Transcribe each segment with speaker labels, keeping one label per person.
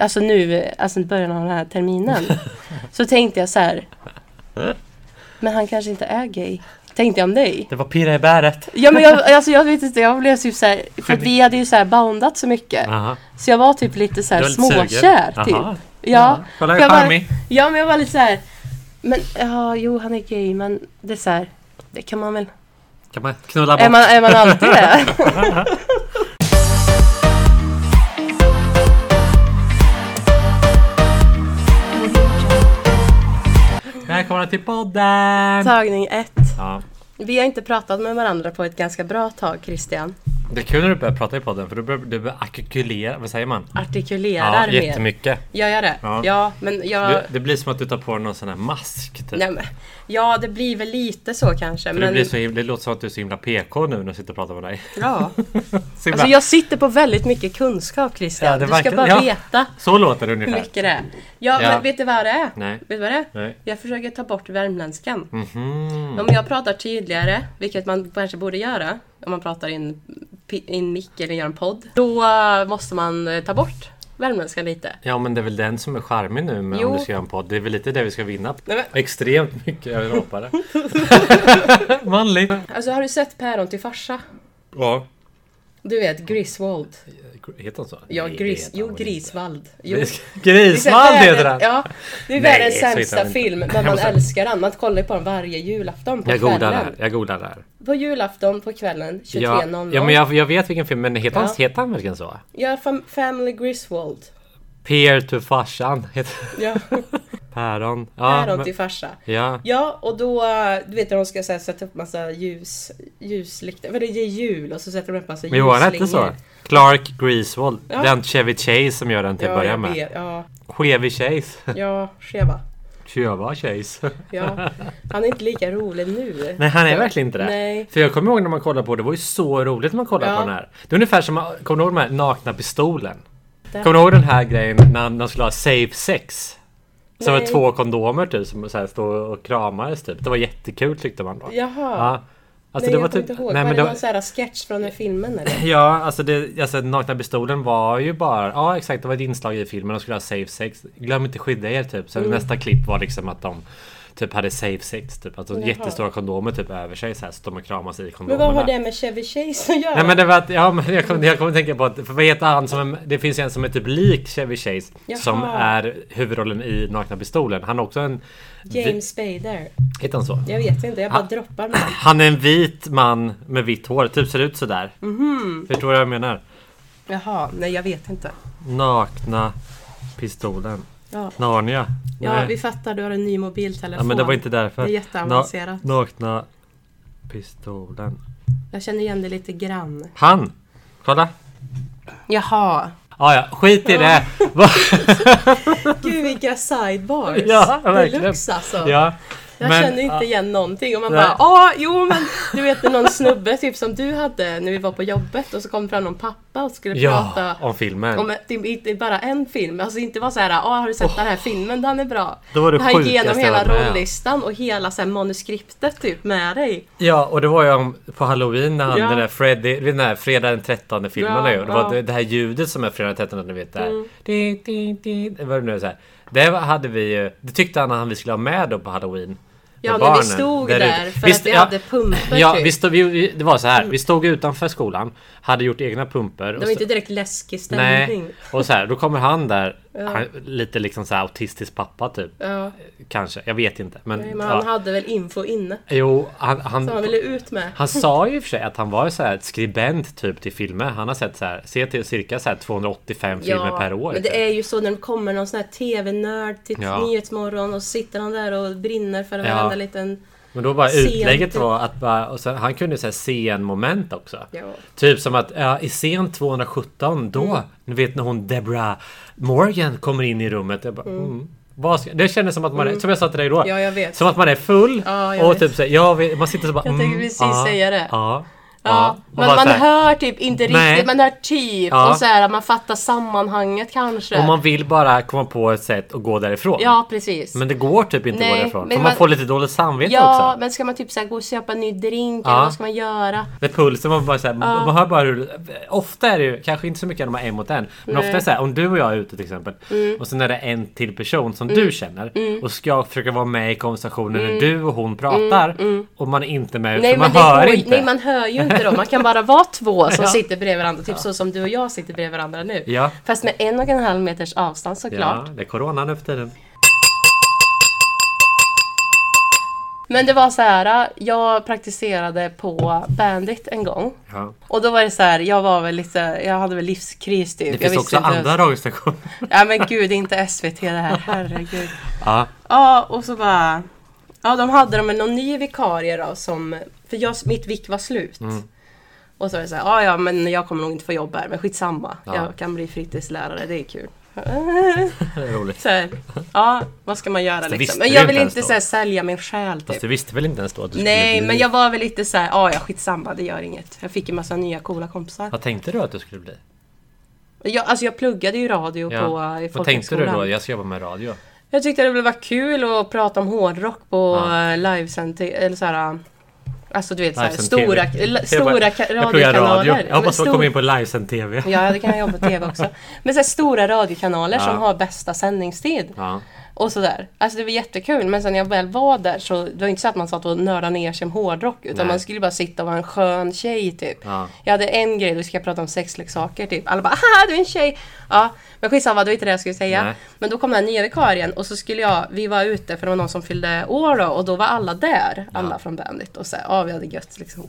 Speaker 1: alltså nu, alltså i början av den här terminen. så tänkte jag så här. Men han kanske inte är gay. Tänkte jag om dig.
Speaker 2: Det var pirra i bäret.
Speaker 1: Ja men jag, alltså jag vet inte, jag blev typ så här, för att vi hade ju så här boundat så mycket.
Speaker 2: Aha.
Speaker 1: Så jag var typ lite så här
Speaker 2: Du var lite sugen.
Speaker 1: småkär typ.
Speaker 2: Aha.
Speaker 1: Ja.
Speaker 3: Kolla
Speaker 1: Jag
Speaker 3: hur
Speaker 1: bara-
Speaker 3: charmig.
Speaker 1: ja, men jag var lite så här. Men ja, jo han är gay men det är så här, det kan man väl.
Speaker 2: Kan man knulla bort?
Speaker 1: Är man, är man alltid det?
Speaker 2: Välkomna till podden!
Speaker 1: Tagning ett.
Speaker 2: Ja.
Speaker 1: Vi har inte pratat med varandra på ett ganska bra tag Christian.
Speaker 2: Det är kul när du börjar prata i podden för du börjar, du börjar artikulera, vad säger man?
Speaker 1: Artikulerar mer.
Speaker 2: ja, jättemycket.
Speaker 1: Gör jag det?
Speaker 2: Ja.
Speaker 1: Ja, men jag...
Speaker 2: Du, det blir som att du tar på dig någon sån här mask. Typ.
Speaker 1: Nej, men, ja, det blir väl lite så kanske.
Speaker 2: För det,
Speaker 1: Men,
Speaker 2: blir så himla, det låter som att du är så himla PK nu när jag sitter och pratar med dig.
Speaker 1: ja.
Speaker 2: Så, himla,
Speaker 1: alltså, jag sitter på väldigt mycket kunskap Christian.
Speaker 2: Ja, det
Speaker 1: du ska
Speaker 2: verkar-
Speaker 1: bara
Speaker 2: ja.
Speaker 1: veta
Speaker 2: så låter det
Speaker 1: hur
Speaker 2: ungefär.
Speaker 1: mycket det är. Ja,
Speaker 2: Ja.
Speaker 1: men vet du vad det är?
Speaker 2: Nej.
Speaker 1: Vet du vad det är?
Speaker 2: Nej.
Speaker 1: Jag försöker ta bort värmländskan.
Speaker 2: Mhm.
Speaker 1: Om jag pratar tydligare, vilket man kanske borde göra om man pratar i en, pi- i en mick eller gör en podd, då eh, måste man eh, ta bort värmländskan lite.
Speaker 2: Ja men det är väl den som är charmig nu med om
Speaker 1: Jo.
Speaker 2: du ska göra en podd. Det är väl lite det vi ska vinna. på.
Speaker 1: Nej, men-
Speaker 2: Extremt mycket överhoppare. Manligt.
Speaker 1: Alltså har du sett Päron till farsa?
Speaker 2: Ja.
Speaker 1: Du vet Griswold.
Speaker 2: Heter han så?
Speaker 1: Ja,
Speaker 2: Nej,
Speaker 1: gris,
Speaker 2: heter
Speaker 1: jo,
Speaker 2: han väl inte.
Speaker 1: Grisvald. Jo.
Speaker 2: Grisvall
Speaker 1: Det är
Speaker 2: heter han!
Speaker 1: världens- Ja, det är
Speaker 2: Nej,
Speaker 1: världens
Speaker 2: så heter han
Speaker 1: sämsta
Speaker 2: inte.
Speaker 1: film, men man
Speaker 2: måste-
Speaker 1: älskar den. Man kollar ju på den varje julafton på
Speaker 2: Jag
Speaker 1: kvällen.
Speaker 2: googlar där. Jag googlar där.
Speaker 1: På julafton på kvällen
Speaker 2: Ja,
Speaker 1: 23.00.
Speaker 2: ja men jag, jag vet vilken film, men heter, han,
Speaker 1: Ja.
Speaker 2: heter han verkligen så?
Speaker 1: Ja, fam- Family Griswold.
Speaker 2: Peer to farsan heter
Speaker 1: Ja,
Speaker 2: Päron. Ja,
Speaker 1: päron typ.
Speaker 2: men-
Speaker 1: till farsa.
Speaker 2: ja.
Speaker 1: Ja, och då, eh, du vet när de ska så här, sätta upp massa ljus, ljuslyktor, för det är jul och så sätter de upp massa
Speaker 2: Men
Speaker 1: ljusslingor.
Speaker 2: Johan hette så. Clark Griswold.
Speaker 1: Ja.
Speaker 2: Den Chevy Chase som gör den till att
Speaker 1: ja,
Speaker 2: börja
Speaker 1: jag
Speaker 2: med.
Speaker 1: vet. Ja,
Speaker 2: Chevy Chase.
Speaker 1: ja, skeva.
Speaker 2: Tjöva Chase.
Speaker 1: Ja. Han är inte lika rolig nu.
Speaker 2: Nej han är verkligen inte det.
Speaker 1: Nej.
Speaker 2: För jag kommer ihåg när man kollade på det, det var ju så roligt när man kollade
Speaker 1: Ja.
Speaker 2: på den här. Det är ungefär som, kommer du ihåg den här nakna pistolen?
Speaker 1: Där.
Speaker 2: Kommer du ihåg den här grejen när de skulle ha safe sex? Som var
Speaker 1: Nej.
Speaker 2: två kondomer typ som så här stod och kramades typ. Det var jättekul tyckte man då.
Speaker 1: Jaha.
Speaker 2: Ja. Alltså
Speaker 1: nej,
Speaker 2: det var
Speaker 1: jag kommer
Speaker 2: typ,
Speaker 1: inte ihåg.
Speaker 2: nej,
Speaker 1: var
Speaker 2: men
Speaker 1: det
Speaker 2: det
Speaker 1: någon sån här sketch från den filmen eller?
Speaker 2: Ja, alltså, det, alltså nakna pistolen var ju bara... Ja, exakt. Det var ett inslag i filmen. De skulle ha safe sex. Glöm inte skydda er, typ. Så
Speaker 1: Mm.
Speaker 2: nästa klipp var liksom att de typ hade safe sex. Typ. Alltså
Speaker 1: Jaha.
Speaker 2: jättestora kondomer typ över sig så här. Så de och kramas i
Speaker 1: Men
Speaker 2: kondomerna.
Speaker 1: vad har det med Chevy Chase att göra?
Speaker 2: Nej men det var att, ja men jag kommer jag kom att tänka på att, för vad heter han som, det finns ju en som är typ lik Chevy Chase
Speaker 1: Jaha.
Speaker 2: Som är huvudrollen i Nakna Pistolen. Han är också en...
Speaker 1: James Spader.
Speaker 2: Heter han så?
Speaker 1: Jag vet inte, jag bara
Speaker 2: Ah.
Speaker 1: droppar med.
Speaker 2: Han är en vit man med vitt hår, typ ser ut sådär.
Speaker 1: Mhm.
Speaker 2: Förstår du vad jag menar?
Speaker 1: Jaha, nej jag vet inte.
Speaker 2: Nakna pistolen.
Speaker 1: Ja,
Speaker 2: Narnia?
Speaker 1: ja
Speaker 2: Nej.
Speaker 1: vi fattar, du har en ny mobiltelefon.
Speaker 2: ja, men det var inte därför.
Speaker 1: Det är jätteavancerat.
Speaker 2: Na- nakna pistolen.
Speaker 1: Jag känner igen det lite grann.
Speaker 2: Han! Kolla!
Speaker 1: Jaha.
Speaker 2: Ah, ja, skit i det! Va?
Speaker 1: Gud vilka sidebars.
Speaker 2: Ja, verkligen.
Speaker 1: Deluxe alltså.
Speaker 2: ja.
Speaker 1: Jag
Speaker 2: men-
Speaker 1: känner inte igen någonting. Och man
Speaker 2: Nej.
Speaker 1: bara, ja, jo men du vet någon snubbe typ som du hade när vi var på jobbet och så kom fram någon pappa och skulle
Speaker 2: Ja,
Speaker 1: prata
Speaker 2: om filmen.
Speaker 1: Om ett- det inte bara en film, alltså inte vara såhär ah, har du sett den här filmen, den är bra.
Speaker 2: Oh. Då var det
Speaker 1: han gick
Speaker 2: sjukaste
Speaker 1: igenom
Speaker 2: jag
Speaker 1: hela
Speaker 2: varit med om.
Speaker 1: rollistan och hela så här, manuskriptet typ med dig.
Speaker 2: Ja, och det var ju om, på halloween när han,
Speaker 1: Ja.
Speaker 2: den där Freddy, den där fredag den 13 filmen
Speaker 1: Ja,
Speaker 2: är ju. Det var
Speaker 1: ja. Mm.
Speaker 2: det, det här ljudet som är fredag den 13, ni vet det här. Di, di, di, vad det nu är så här. Det var- hade vi ju, det tyckte han att vi skulle ha med då på halloween. med
Speaker 1: Ja, när vi
Speaker 2: barnen.
Speaker 1: stod
Speaker 2: Där
Speaker 1: där,
Speaker 2: ute.
Speaker 1: för
Speaker 2: Visst,
Speaker 1: att vi
Speaker 2: ja.
Speaker 1: hade pumper
Speaker 2: Ja,
Speaker 1: typ. Mm.
Speaker 2: vi stod, vi, vi, det var så här. Vi stod utanför skolan, hade gjort egna pumpor.
Speaker 1: det var inte direkt läskig stämning.
Speaker 2: Nej, och så här, då kommer han där, han, lite liksom så här autistisk pappa typ.
Speaker 1: Ja,
Speaker 2: Kanske, jag vet inte. Men,
Speaker 1: men han
Speaker 2: ja.
Speaker 1: hade väl info inne
Speaker 2: Jo, han, han,
Speaker 1: som han ville ut med.
Speaker 2: han sa ju i och för sig att han var så här ett skribent typ till filmer. Han har sett så här, ser till cirka så här 285 filmer per år. typ.
Speaker 1: men det är ju så när det kommer någon sån här TV-nörd till
Speaker 2: Ja.
Speaker 1: Nyhetsmorgon och sitter han där och brinner för
Speaker 2: Ja.
Speaker 1: varenda liten...
Speaker 2: Men då bara
Speaker 1: Scen-
Speaker 2: utlägget var att bara, och sen, han kunde säga scen-moment också.
Speaker 1: Ja.
Speaker 2: Typ som att ja, i scen 217 då,
Speaker 1: Mm.
Speaker 2: ni vet när hon Deborah Morgan kommer in i rummet. Jag bara, mm. vad ska, det kändes som att man är, som jag sa till dig då,
Speaker 1: Mm. Ja, jag vet.
Speaker 2: som att man är full
Speaker 1: Ja, jag
Speaker 2: och
Speaker 1: vet.
Speaker 2: typ så, här, jag vet, man sitter så bara
Speaker 1: Jag tänkte
Speaker 2: mm,
Speaker 1: precis
Speaker 2: ja,
Speaker 1: säga det.
Speaker 2: Ja. Ja,
Speaker 1: Ja,
Speaker 2: och
Speaker 1: men
Speaker 2: bara
Speaker 1: man
Speaker 2: så här-
Speaker 1: hör typ inte riktigt,
Speaker 2: Nej.
Speaker 1: man hör typ
Speaker 2: Ja.
Speaker 1: och så här, att man fattar sammanhanget kanske.
Speaker 2: Och man vill bara komma på ett sätt att gå därifrån.
Speaker 1: Ja, precis.
Speaker 2: Men det går typ inte att gå
Speaker 1: Nej,
Speaker 2: därifrån.
Speaker 1: men
Speaker 2: För man,
Speaker 1: man-
Speaker 2: får lite dåligt samvete
Speaker 1: ja,
Speaker 2: också.
Speaker 1: men ska man typ så här gå och köpa en ny drink
Speaker 2: Ja.
Speaker 1: eller vad ska man göra?
Speaker 2: När pulsen man bara såhär, man hör bara hur... Ofta är det ju, kanske inte så mycket när man är en mot en. Men ofta är det såhär, om du och jag är ute till exempel.
Speaker 1: Mm.
Speaker 2: Och sen är det en till person som du känner. Och ska jag försöka vara med i konversationen när du och hon pratar. Och man är inte med,
Speaker 1: Mm. Nej
Speaker 2: för man
Speaker 1: men, det
Speaker 2: hör
Speaker 1: går,
Speaker 2: inte.
Speaker 1: nej man hör ju inte dem, man kan bara vara två som
Speaker 2: Ja.
Speaker 1: sitter bredvid varandra, typ så som du och jag sitter bredvid varandra nu.
Speaker 2: Ja.
Speaker 1: Fast med en och en halv meters avstånd såklart.
Speaker 2: Ja, det är corona nu för tiden.
Speaker 1: Men det var så här, jag praktiserade på Bandit en gång.
Speaker 2: Ja.
Speaker 1: Och då var det så här, jag var väl lite, jag hade väl livskris typ.
Speaker 2: Det
Speaker 1: jag
Speaker 2: finns också
Speaker 1: inte ens-
Speaker 2: andra radiostationer.
Speaker 1: Ja men gud, det är inte SVT det här, herregud.
Speaker 2: Ja.
Speaker 1: Ja, och så bara... Ja, de hade de någon ny vikarie då som... För jag, mitt vik var slut.
Speaker 2: Mm.
Speaker 1: Och så var det så här, ja ja men jag kommer nog inte få jobb här, men skitsamma.
Speaker 2: Ja.
Speaker 1: Jag kan bli fritidslärare, det är kul.
Speaker 2: Det är roligt.
Speaker 1: Så här, ja, vad ska man göra
Speaker 2: visste
Speaker 1: liksom? Men
Speaker 2: du
Speaker 1: jag
Speaker 2: inte
Speaker 1: vill
Speaker 2: ens
Speaker 1: inte
Speaker 2: då.
Speaker 1: så här, sälja min själ typ.
Speaker 2: Fast du visste väl inte ens då att du skulle
Speaker 1: Nej,
Speaker 2: bli...
Speaker 1: men jag var väl lite så här, ja ja skitsamma, det gör inget. Jag fick en massa nya coola kompisar.
Speaker 2: Vad tänkte du att du skulle bli?
Speaker 1: Jag, alltså jag pluggade ju radio på eh, i
Speaker 2: Vad tänkte du då?
Speaker 1: folkhögskolan.
Speaker 2: Jag ska jobba med radio.
Speaker 1: Jag tyckte det var kul att prata om hårdrock på
Speaker 2: Ja.
Speaker 1: ja. livesänd eller så här. Alltså du vet så här,
Speaker 2: Livesänd
Speaker 1: stora,
Speaker 2: TV.
Speaker 1: la-
Speaker 2: Jag
Speaker 1: stora
Speaker 2: bara-
Speaker 1: ka-
Speaker 2: Jag pluggar radio.
Speaker 1: radiokanaler.
Speaker 2: Jag hoppas
Speaker 1: Men
Speaker 2: man
Speaker 1: stor-
Speaker 2: kommer in på livesänd TV.
Speaker 1: Ja, det kan jag jobba på TV också. Men så här, stora radiokanaler som
Speaker 2: Ja.
Speaker 1: har bästa sändningstid.
Speaker 2: Ja.
Speaker 1: Och sådär. Alltså det var jättekul men sen när jag väl var där så det var inte så att man satt och nördade ner sig om hårdrock utan
Speaker 2: Nej.
Speaker 1: man skulle bara sitta och vara en skön tjej typ.
Speaker 2: Ja.
Speaker 1: Jag hade en grej, då ska jag prata om sexleksaker typ. Alla bara aha du är en tjej! Ja, men skitsamma det var inte det jag skulle säga.
Speaker 2: Nej.
Speaker 1: Men då kom den här nya vikarien och så skulle jag, vi var ute för det var någon som fyllde år då och då var alla där. Alla från Bandit och så här, ja vi hade gött liksom.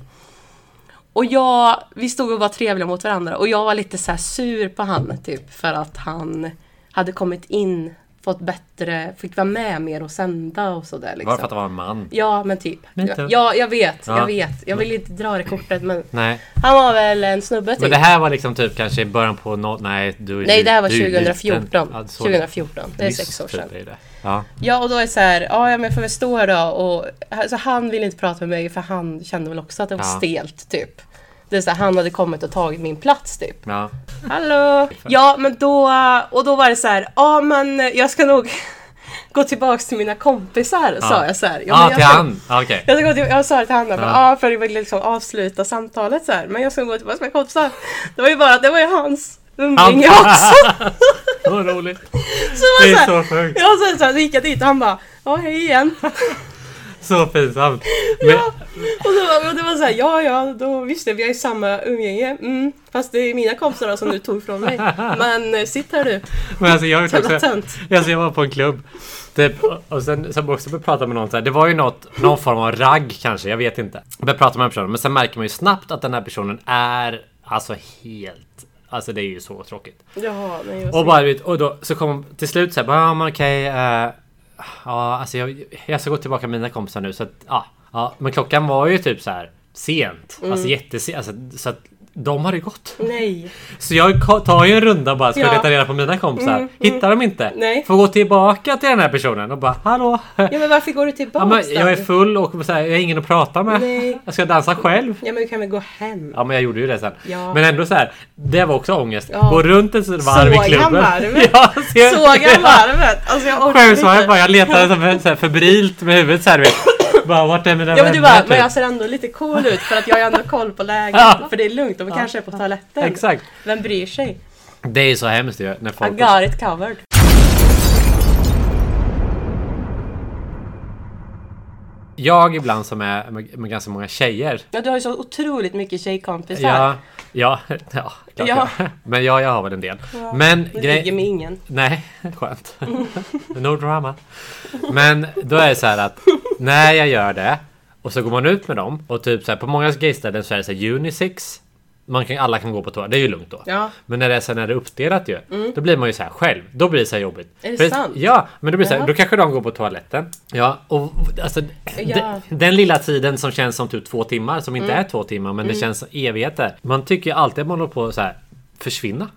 Speaker 1: Och jag, vi stod och var trevliga mot varandra och jag var lite så här sur på han typ för att han hade kommit in, fått bättre, fick vara med mer och sända och sådär
Speaker 2: Bara för
Speaker 1: liksom.
Speaker 2: att det var en man.
Speaker 1: Ja men typ.
Speaker 2: Lite.
Speaker 1: Ja jag vet,
Speaker 2: Ja.
Speaker 1: jag vet. Jag vill inte dra det kortet men
Speaker 2: Nej.
Speaker 1: han var väl en snubbe typ.
Speaker 2: Men det här var liksom typ kanske i början på nå... Nej, du är
Speaker 1: Nej
Speaker 2: ju-
Speaker 1: det här var
Speaker 2: du är ju
Speaker 1: 2014.
Speaker 2: liten. Ja, så-
Speaker 1: 2014, det är
Speaker 2: nyss
Speaker 1: sex år
Speaker 2: typ
Speaker 1: sedan.
Speaker 2: är det. Ja.
Speaker 1: Ja och då är det så här, ja ja, men jag får väl stå här då och alltså, han ville inte prata med mig för han kände väl också att det var
Speaker 2: Ja.
Speaker 1: stelt typ. Det är så här, han hade kommit och tagit min plats typ.
Speaker 2: Ja.
Speaker 1: Hallå! Ja, men då, och då var det så här, ja men jag ska nog gå tillbaks till mina kompisar, sa jag så här. Ja,
Speaker 2: ah,
Speaker 1: men
Speaker 2: till
Speaker 1: jag ska-
Speaker 2: han! Ah, Okej.
Speaker 1: Jag, ska gå till, jag sa det till Hanna, bara,
Speaker 2: Ja.
Speaker 1: ja. för att liksom avsluta samtalet så här. men jag ska gå tillbaks till mina kompisar. Det var ju bara, det var ju hans umgänge också.
Speaker 2: Vad roligt.
Speaker 1: Så det
Speaker 2: Det
Speaker 1: var
Speaker 2: är
Speaker 1: så här,
Speaker 2: så sjukt.
Speaker 1: jag sa så här, så gick jag dit och han bara, ja hej igen.
Speaker 2: Så pinsamt. Men,
Speaker 1: Ja. Och det var, och det var så här, ja ja, då visste vi har ju samma umgänge. Mm, fast det är mina kompisar då som du tog från mig. Men eh, sitt här du,
Speaker 2: men alltså jag vet
Speaker 1: jävla
Speaker 2: också...
Speaker 1: tönt.
Speaker 2: Alltså jag var på en klubb. Typ, och- och sen som också började prata med någon så här, Det var ju något, någon form av ragg kanske, jag vet inte. Jag Började prata med den personen men sen märker man ju snabbt att den här personen är alltså helt... Alltså det är ju så tråkigt.
Speaker 1: Jaha, nej, jag
Speaker 2: Och bara du vet, och då så kom till slut såhär bara ja men okej. eh, ja alltså jag, jag ska gå tillbaka med mina kompisar nu så att ja. ja men klockan var ju typ så här sent. Alltså
Speaker 1: Mm.
Speaker 2: jättesent. Alltså, så att de hade gått.
Speaker 1: Nej.
Speaker 2: Så jag ka- tar ju en runda bara för att
Speaker 1: Ja. Mm,
Speaker 2: leta reda på mina kompisar. Hittar de inte.
Speaker 1: Nej.
Speaker 2: Får gå tillbaka till den här personen och bara hallå.
Speaker 1: Ja men varför går du
Speaker 2: Ja, men
Speaker 1: tillbaks
Speaker 2: jag är
Speaker 1: då?
Speaker 2: full och så här, jag har ingen att prata med.
Speaker 1: Nej.
Speaker 2: Jag ska dansa själv.
Speaker 1: Ja men du kan väl gå hem?
Speaker 2: Ja men jag gjorde ju det sen.
Speaker 1: Ja.
Speaker 2: Men ändå så här, det var också ångest.
Speaker 1: Ja.
Speaker 2: Gå runt ett varv
Speaker 1: Såg
Speaker 2: i klubben.
Speaker 1: han varvet?
Speaker 2: Ja, ser-
Speaker 1: Såg
Speaker 2: Ja.
Speaker 1: han varvet? Alltså jag orkar
Speaker 2: Själv sa jag
Speaker 1: inte.
Speaker 2: bara, jag letade så här, så här febrilt med huvudet såhär du vet. Bara vart är mina
Speaker 1: Ja men du bara,
Speaker 2: vänner,
Speaker 1: men
Speaker 2: typ?
Speaker 1: jag ser ändå lite cool ut för att jag har ändå koll på läget.
Speaker 2: Ja.
Speaker 1: För det är lugnt, de kanske är på toaletten.
Speaker 2: Exakt.
Speaker 1: Vem bryr sig?
Speaker 2: Det är ju så hemskt ju när
Speaker 1: I
Speaker 2: folk...
Speaker 1: got it covered.
Speaker 2: Jag ibland som är med, med ganska många tjejer.
Speaker 1: Ja, du har ju så otroligt mycket tjejkompisar.
Speaker 2: Ja, ja, ja, klart
Speaker 1: Ja.
Speaker 2: ja. Men ja, jag har väl en del. Men
Speaker 1: Du
Speaker 2: grej-
Speaker 1: ligger med ingen.
Speaker 2: Nej, skönt. no drama. Men då är det så här att när jag gör det och så går man ut med dem och typ så här på många gayställen så är det så här unisex. Man kan, alla kan gå på toa, det är ju lugnt då.
Speaker 1: Ja. Mm.
Speaker 2: Men när det är, sen är det uppdelat ju, då blir man ju så här själv. Då blir det så här jobbigt.
Speaker 1: Är det
Speaker 2: För-
Speaker 1: sant?
Speaker 2: Ja, men då blir det så här,
Speaker 1: Ja.
Speaker 2: då kanske de går på toaletten. Ja, och alltså
Speaker 1: Ja. Mm.
Speaker 2: den, den lilla tiden som känns som typ två timmar, som inte är två timmar men det känns som evigheter. Man tycker ju alltid att man håller på att så här försvinna.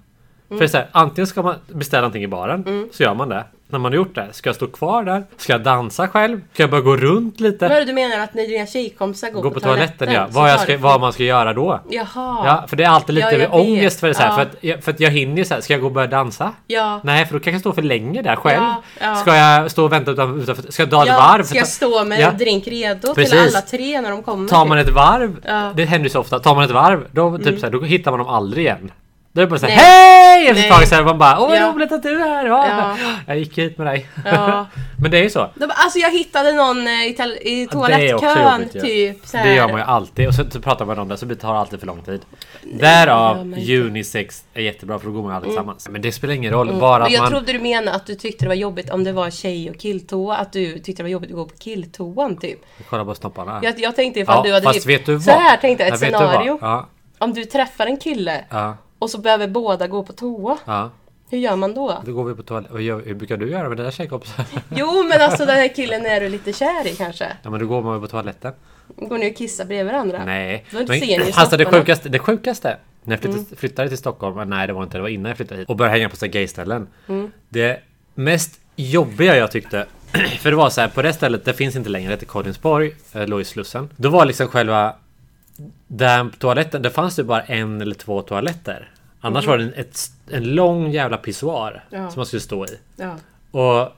Speaker 2: För det är så här, antingen ska man beställa någonting i baren,
Speaker 1: Mm.
Speaker 2: så gör man det. När man har gjort det, ska jag stå kvar där? Ska jag dansa själv? Ska jag bara gå runt lite?
Speaker 1: Vad är det du menar att när dina tjejkompisar går
Speaker 2: Gå på toaletten ja.
Speaker 1: så
Speaker 2: Vad, jag
Speaker 1: tar
Speaker 2: ska,
Speaker 1: du-
Speaker 2: vad man ska göra då?
Speaker 1: Jaha.
Speaker 2: Ja, för det är alltid lite
Speaker 1: Ja, jag
Speaker 2: ångest
Speaker 1: vet.
Speaker 2: för det så här,
Speaker 1: Ja.
Speaker 2: för, att, jag- för att jag hinner ju så här, ska jag gå och börja dansa?
Speaker 1: Ja.
Speaker 2: Nej, för då kan jag stå för länge där själv.
Speaker 1: Ja, ja.
Speaker 2: Ska jag stå och vänta utan- utanför? Ska jag dra ett
Speaker 1: Ja,
Speaker 2: varv?
Speaker 1: Ska jag stå med
Speaker 2: Ja.
Speaker 1: en drink redo till
Speaker 2: Precis.
Speaker 1: alla tre när de kommer?
Speaker 2: Tar man ett varv,
Speaker 1: Ja. Mm.
Speaker 2: det händer ju så ofta, tar man ett varv då, typ så här, då hittar man dem aldrig igen. Då är det bara såhär
Speaker 1: Nej.
Speaker 2: HEJ! Efter ett
Speaker 1: Nej.
Speaker 2: tag så här, man bara Åh vad
Speaker 1: Ja.
Speaker 2: roligt att du är här! Ja.
Speaker 1: Ja.
Speaker 2: Jag gick hit med dig.
Speaker 1: Ja.
Speaker 2: Men det är ju så.
Speaker 1: De bara, Alltså jag hittade någon eh, i, tal- i
Speaker 2: Ja, det är också
Speaker 1: toalettkön
Speaker 2: jobbigt ju.
Speaker 1: typ. Så här.
Speaker 2: Det gör man ju alltid och så, så pratar man om det så det tar alltid för lång tid. Därav
Speaker 1: men-
Speaker 2: unisex är jättebra för då går man aldrig tillsammans. Men det spelar ingen roll, bara
Speaker 1: Mm. Men
Speaker 2: att
Speaker 1: jag
Speaker 2: man...
Speaker 1: trodde du menade att du tyckte det var jobbigt om det var tjej och killtoa. Att du tyckte det var jobbigt att gå på killtoan typ.
Speaker 2: Kolla på snopparna.
Speaker 1: Jag, jag tänkte ifall du hade
Speaker 2: fast
Speaker 1: typ,
Speaker 2: vet du vad?
Speaker 1: Så här tänkte jag, ett
Speaker 2: Ja, vet du vad?
Speaker 1: scenario.
Speaker 2: Ja,
Speaker 1: Om du träffar en kille
Speaker 2: ja,
Speaker 1: och så behöver båda gå på toa.
Speaker 2: ja.
Speaker 1: Hur gör man då?
Speaker 2: Då går vi på toaletten. Hur brukar du göra med dina tjejkompisar?
Speaker 1: Jo men alltså den här killen är du lite kär i kanske?
Speaker 2: ja men då går man ju på toaletten.
Speaker 1: Går ni och kissar bredvid varandra?
Speaker 2: Nej.
Speaker 1: Då ser ni ju Mm.
Speaker 2: alltså det
Speaker 1: snopparna.
Speaker 2: sjukaste, det sjukaste. När jag flyttade, flyttade till Stockholm, men nej det var inte, det var innan jag flyttade hit. Och började hänga på så här gayställen.
Speaker 1: Mm.
Speaker 2: Det mest jobbiga jag tyckte, för det var så här på det stället, det finns inte längre, det heter Kodinsborg, eh, låg i Slussen. Då var liksom själva där toaletten, det fanns ju bara en eller två toaletter. Annars var det en, ett, en lång jävla pissoar
Speaker 1: Mm. Ja.
Speaker 2: som man skulle stå i.
Speaker 1: Ja.
Speaker 2: Och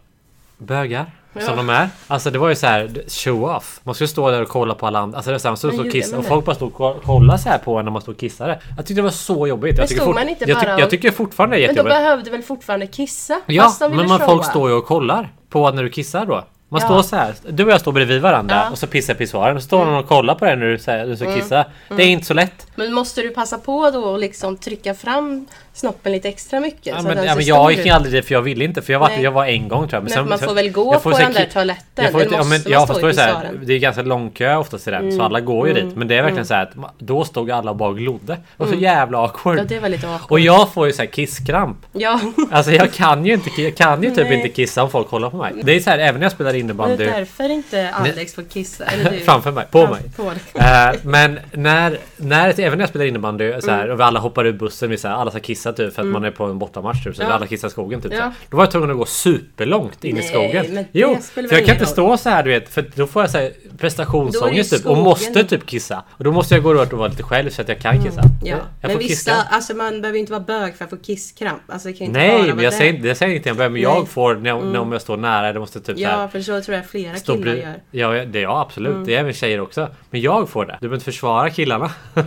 Speaker 2: bögar
Speaker 1: Ja.
Speaker 2: som de är. Alltså det var ju så här show off. Man skulle stå där och kolla på alla andra. Alltså det var så här, man stod
Speaker 1: Men
Speaker 2: och
Speaker 1: gjorde
Speaker 2: kissade
Speaker 1: man
Speaker 2: och
Speaker 1: det?
Speaker 2: folk bara stod och ko- kollade så här på en när man stod och kissade. Jag tyckte det var så jobbigt. Jag
Speaker 1: Men
Speaker 2: tycker,
Speaker 1: stod
Speaker 2: fort-
Speaker 1: man inte
Speaker 2: jag,
Speaker 1: bara
Speaker 2: tyck-
Speaker 1: och-
Speaker 2: jag tycker fortfarande det är
Speaker 1: Men de
Speaker 2: jättejobbigt.
Speaker 1: behövde väl fortfarande kissa?
Speaker 2: Ja,
Speaker 1: fast de ville
Speaker 2: men man, folk
Speaker 1: showa.
Speaker 2: står ju och kollar på när du kissar då. Man
Speaker 1: Ja.
Speaker 2: står så här. Du och jag står bredvid varandra
Speaker 1: Ja. Mm.
Speaker 2: och så pissar jag i pissoaren. Och så står någon och kollar på dig när du, så här, du ska kissa. Det är inte så lätt.
Speaker 1: Men måste du passa på då och liksom trycka fram snoppen lite extra mycket?
Speaker 2: Ja,
Speaker 1: så att
Speaker 2: men,
Speaker 1: den
Speaker 2: ja,
Speaker 1: ser
Speaker 2: men
Speaker 1: stor
Speaker 2: jag gick
Speaker 1: ut?
Speaker 2: ju aldrig dit för jag ville inte. För jag var,
Speaker 1: Nej.
Speaker 2: jag var en gång tror jag.
Speaker 1: Men man
Speaker 2: sen-
Speaker 1: får väl gå
Speaker 2: jag får
Speaker 1: på
Speaker 2: så här
Speaker 1: den där
Speaker 2: ki-
Speaker 1: toaletten?
Speaker 2: Jag får
Speaker 1: eller
Speaker 2: inte, ja,
Speaker 1: måste Mm. man
Speaker 2: men jag
Speaker 1: stå i
Speaker 2: förstår ju såhär,
Speaker 1: pissoaren?
Speaker 2: det är ganska lång kö oftast i den så alla går ju dit. Men det är verkligen
Speaker 1: Mm.
Speaker 2: så här att ma- då stod alla och bara glodde. Och så jävla awkward.
Speaker 1: Ja, det var lite awkward.
Speaker 2: Och jag får ju såhär kisskramp.
Speaker 1: Ja,
Speaker 2: Alltså jag kan ju, inte, jag kan ju typ
Speaker 1: Nej.
Speaker 2: inte kissa om folk kollar på mig. Det är så här även när jag spelar
Speaker 1: det är
Speaker 2: innebandy
Speaker 1: därför inte Alex får kissa. Eller du.
Speaker 2: framför mig, på mig.
Speaker 1: På dig.
Speaker 2: Eh, men när, när, även när jag spelar innebandy så här,
Speaker 1: Mm.
Speaker 2: och vi alla hoppar ur bussen, vi så här, alla ska kissa typ för att man är på en bortamatch typ, så
Speaker 1: Ja.
Speaker 2: vi alla kissar i skogen typ.
Speaker 1: Ja.
Speaker 2: Så här. Då var jag tvungen att gå superlångt in i
Speaker 1: Nej,
Speaker 2: skogen.
Speaker 1: men det
Speaker 2: jo, för
Speaker 1: spelar
Speaker 2: jag
Speaker 1: väl
Speaker 2: kan
Speaker 1: ingen
Speaker 2: inte stå så här du vet, för att då får jag så här, prestationsångest
Speaker 1: Då är det
Speaker 2: typ,
Speaker 1: ju
Speaker 2: och måste
Speaker 1: skogen. Mm.
Speaker 2: typ kissa. Och då måste jag gå runt och vara lite själv så att jag kan kissa.
Speaker 1: Ja.
Speaker 2: Jag
Speaker 1: Men
Speaker 2: får
Speaker 1: vissa,
Speaker 2: kissa.
Speaker 1: alltså man behöver inte vara bög för att få kisskramp. Alltså det kan ju inte bara
Speaker 2: Nej,
Speaker 1: vara
Speaker 2: men jag
Speaker 1: det.
Speaker 2: säger, inte- jag säger inte jag börjar, men jag
Speaker 1: Nej. Mm.
Speaker 2: får när jag, när om jag står nära, det måste typ så här,
Speaker 1: Ja, för så tror jag flera
Speaker 2: Stå
Speaker 1: killar
Speaker 2: bredvid-
Speaker 1: gör. Mm.
Speaker 2: Ja, det är jag absolut. Det är även tjejer också. Men jag får det. Du behöver inte försvara killarna.
Speaker 1: Jo,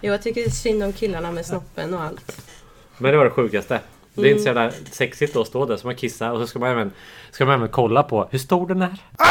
Speaker 1: jag tycker det är synd om killarna med snoppen och allt.
Speaker 2: Men det var det sjukaste. Det är inte
Speaker 1: Mm.
Speaker 2: så jävla sexigt då att stå där så man kissar och så ska man även, ska man även kolla på hur stor den är. Ja,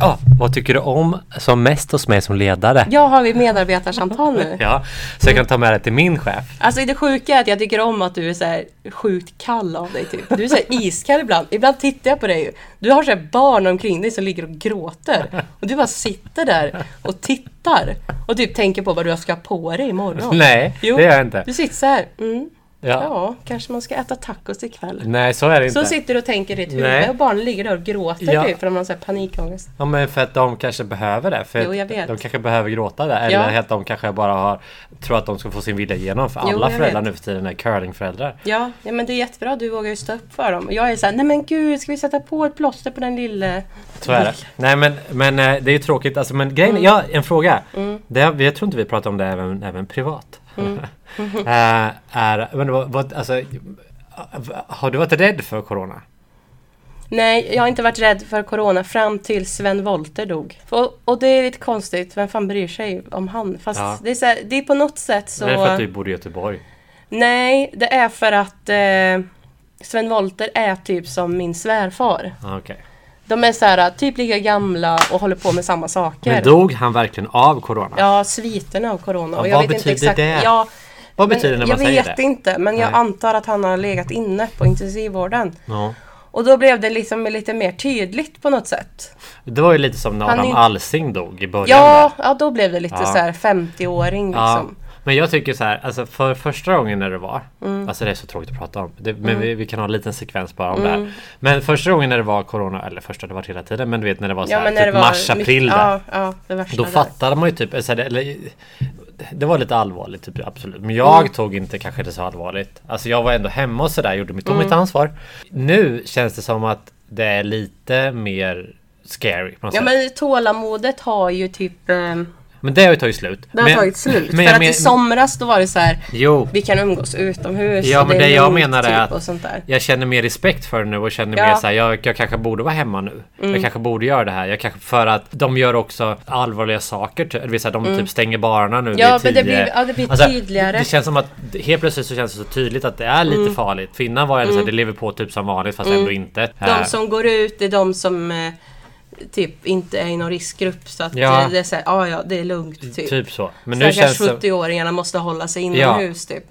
Speaker 2: Ah! vad tycker du om som mest hos mig som ledare?
Speaker 1: Jag har vi medarbetarsamtal nu?
Speaker 2: Ja, så jag kan ta med det till min chef.
Speaker 1: Alltså det sjuka är att jag tycker om att du är så här sjukt kall av dig typ. Du är så här iskall ibland. Ibland tittar jag på dig. Du har så här barn omkring dig som ligger och gråter. Och du bara sitter där och tittar. Och typ tänker på vad du ska ha på dig imorgon.
Speaker 2: Nej,
Speaker 1: Jo.
Speaker 2: det gör jag inte.
Speaker 1: Du sitter så här. Mm, ja.
Speaker 2: Ja.
Speaker 1: kanske man ska äta tacos ikväll.
Speaker 2: Nej, så är det inte.
Speaker 1: Så sitter du och tänker i ditt huvud
Speaker 2: Nej.
Speaker 1: och barnen ligger där och gråter
Speaker 2: Ja.
Speaker 1: typ för de har så här panikångest.
Speaker 2: Ja men för att de kanske behöver det. För
Speaker 1: Jo, jag
Speaker 2: att
Speaker 1: vet.
Speaker 2: De kanske behöver gråta där. Eller
Speaker 1: Ja.
Speaker 2: att de kanske bara har, tror att de ska få sin vilja igenom. För
Speaker 1: Jo,
Speaker 2: alla
Speaker 1: jag
Speaker 2: föräldrar
Speaker 1: vet.
Speaker 2: nu för tiden är curlingföräldrar.
Speaker 1: Ja, ja, men det är jättebra. Du vågar ju stå upp för dem. Och jag är så här, nej men gud, ska vi sätta på ett plåster på den lille?
Speaker 2: Så är det. Nej men, men eh, det är ju tråkigt. Alltså, men grejen,
Speaker 1: Mm.
Speaker 2: ja, en fråga. Det, jag tror inte vi pratar om det även, även privat.
Speaker 1: Mm.
Speaker 2: Eh, är, men vad, vad, alltså, eh, har du varit rädd för corona?
Speaker 1: Nej, jag har inte varit rädd för corona fram till Sven Wollter dog. Och, och det är lite konstigt, vem fan bryr sig om han? Fast
Speaker 2: Ja.
Speaker 1: det, är så här, det är på något sätt så...
Speaker 2: Är det för att typ- du bor i Göteborg?
Speaker 1: Nej, det är för att eh, Sven Wollter är typ som min svärfar.
Speaker 2: Ah, Okej.
Speaker 1: De är så här, typ lika gamla och håller på med samma saker.
Speaker 2: Men dog han verkligen av corona?
Speaker 1: Ja, sviterna av corona.
Speaker 2: Ja,
Speaker 1: och jag
Speaker 2: vad
Speaker 1: vet inte
Speaker 2: betyder
Speaker 1: exakt,
Speaker 2: det?
Speaker 1: Ja,
Speaker 2: Vad
Speaker 1: men
Speaker 2: betyder det
Speaker 1: jag
Speaker 2: när man säger det?
Speaker 1: vet inte, men jag
Speaker 2: Nej.
Speaker 1: antar att han har legat inne på intensivvården.
Speaker 2: Ja.
Speaker 1: Och då blev det liksom lite mer tydligt på något sätt.
Speaker 2: Det var ju lite som när
Speaker 1: Han är
Speaker 2: Adam
Speaker 1: ju-
Speaker 2: Alsing dog i början. där.
Speaker 1: Ja, ja då blev det lite
Speaker 2: Ja.
Speaker 1: så här 50-åring
Speaker 2: Ja.
Speaker 1: liksom.
Speaker 2: Men jag tycker så här, alltså för första gången när det var,
Speaker 1: Mm.
Speaker 2: alltså det är så tråkigt att prata om, det, men vi, vi kan ha en liten sekvens bara om det
Speaker 1: Mm.
Speaker 2: här. Men första gången när det var corona, eller första det var hela tiden, men du vet när det var så här, typ mars, april där.
Speaker 1: Ja, ja, det värsta
Speaker 2: Då
Speaker 1: där.
Speaker 2: fattade man ju typ, alltså, det, eller, det var lite allvarligt typ, absolut. Men jag
Speaker 1: Mm.
Speaker 2: tog inte kanske det så allvarligt. Alltså jag var ändå hemma och sådär, gjorde mitt, tog
Speaker 1: Mm.
Speaker 2: mitt ansvar. Nu känns det som att det är lite mer scary. På något
Speaker 1: Ja
Speaker 2: sätt.
Speaker 1: men tålamodet har ju typ... Eh, det
Speaker 2: men det har ju tagit slut.
Speaker 1: har
Speaker 2: men,
Speaker 1: tagit slut.
Speaker 2: men
Speaker 1: För
Speaker 2: jag
Speaker 1: att
Speaker 2: men-
Speaker 1: i somras då var det så här.
Speaker 2: Jo.
Speaker 1: Vi kan umgås utomhus.
Speaker 2: Ja
Speaker 1: och
Speaker 2: men
Speaker 1: är
Speaker 2: det jag
Speaker 1: lugnt,
Speaker 2: menar
Speaker 1: typ,
Speaker 2: är att
Speaker 1: Och sånt där.
Speaker 2: jag känner mer respekt för det nu och känner
Speaker 1: Ja. Mm.
Speaker 2: mer såhär, jag, jag kanske borde vara hemma nu. Jag kanske borde göra det här. Jag kanske, för att de gör också allvarliga saker. Typ, det vill säga, de typ stänger barerna nu
Speaker 1: Mm. Ja,
Speaker 2: vid
Speaker 1: men det
Speaker 2: 10.
Speaker 1: blir- ja, det blir tydligare. Mm.
Speaker 2: Det känns som att helt plötsligt så känns det så tydligt att det är lite farligt. För innan var jag såhär, det lever på typ som vanligt fast ändå inte. Eh,
Speaker 1: De som går ut är de som eh, typ inte är i någon riskgrupp. Så att
Speaker 2: Ja.
Speaker 1: eh, det är så här, ja ja det är lugnt typ.
Speaker 2: Typ så. Men nu
Speaker 1: Stackars
Speaker 2: känns det...
Speaker 1: 70-åringarna måste hålla sig inomhus typ.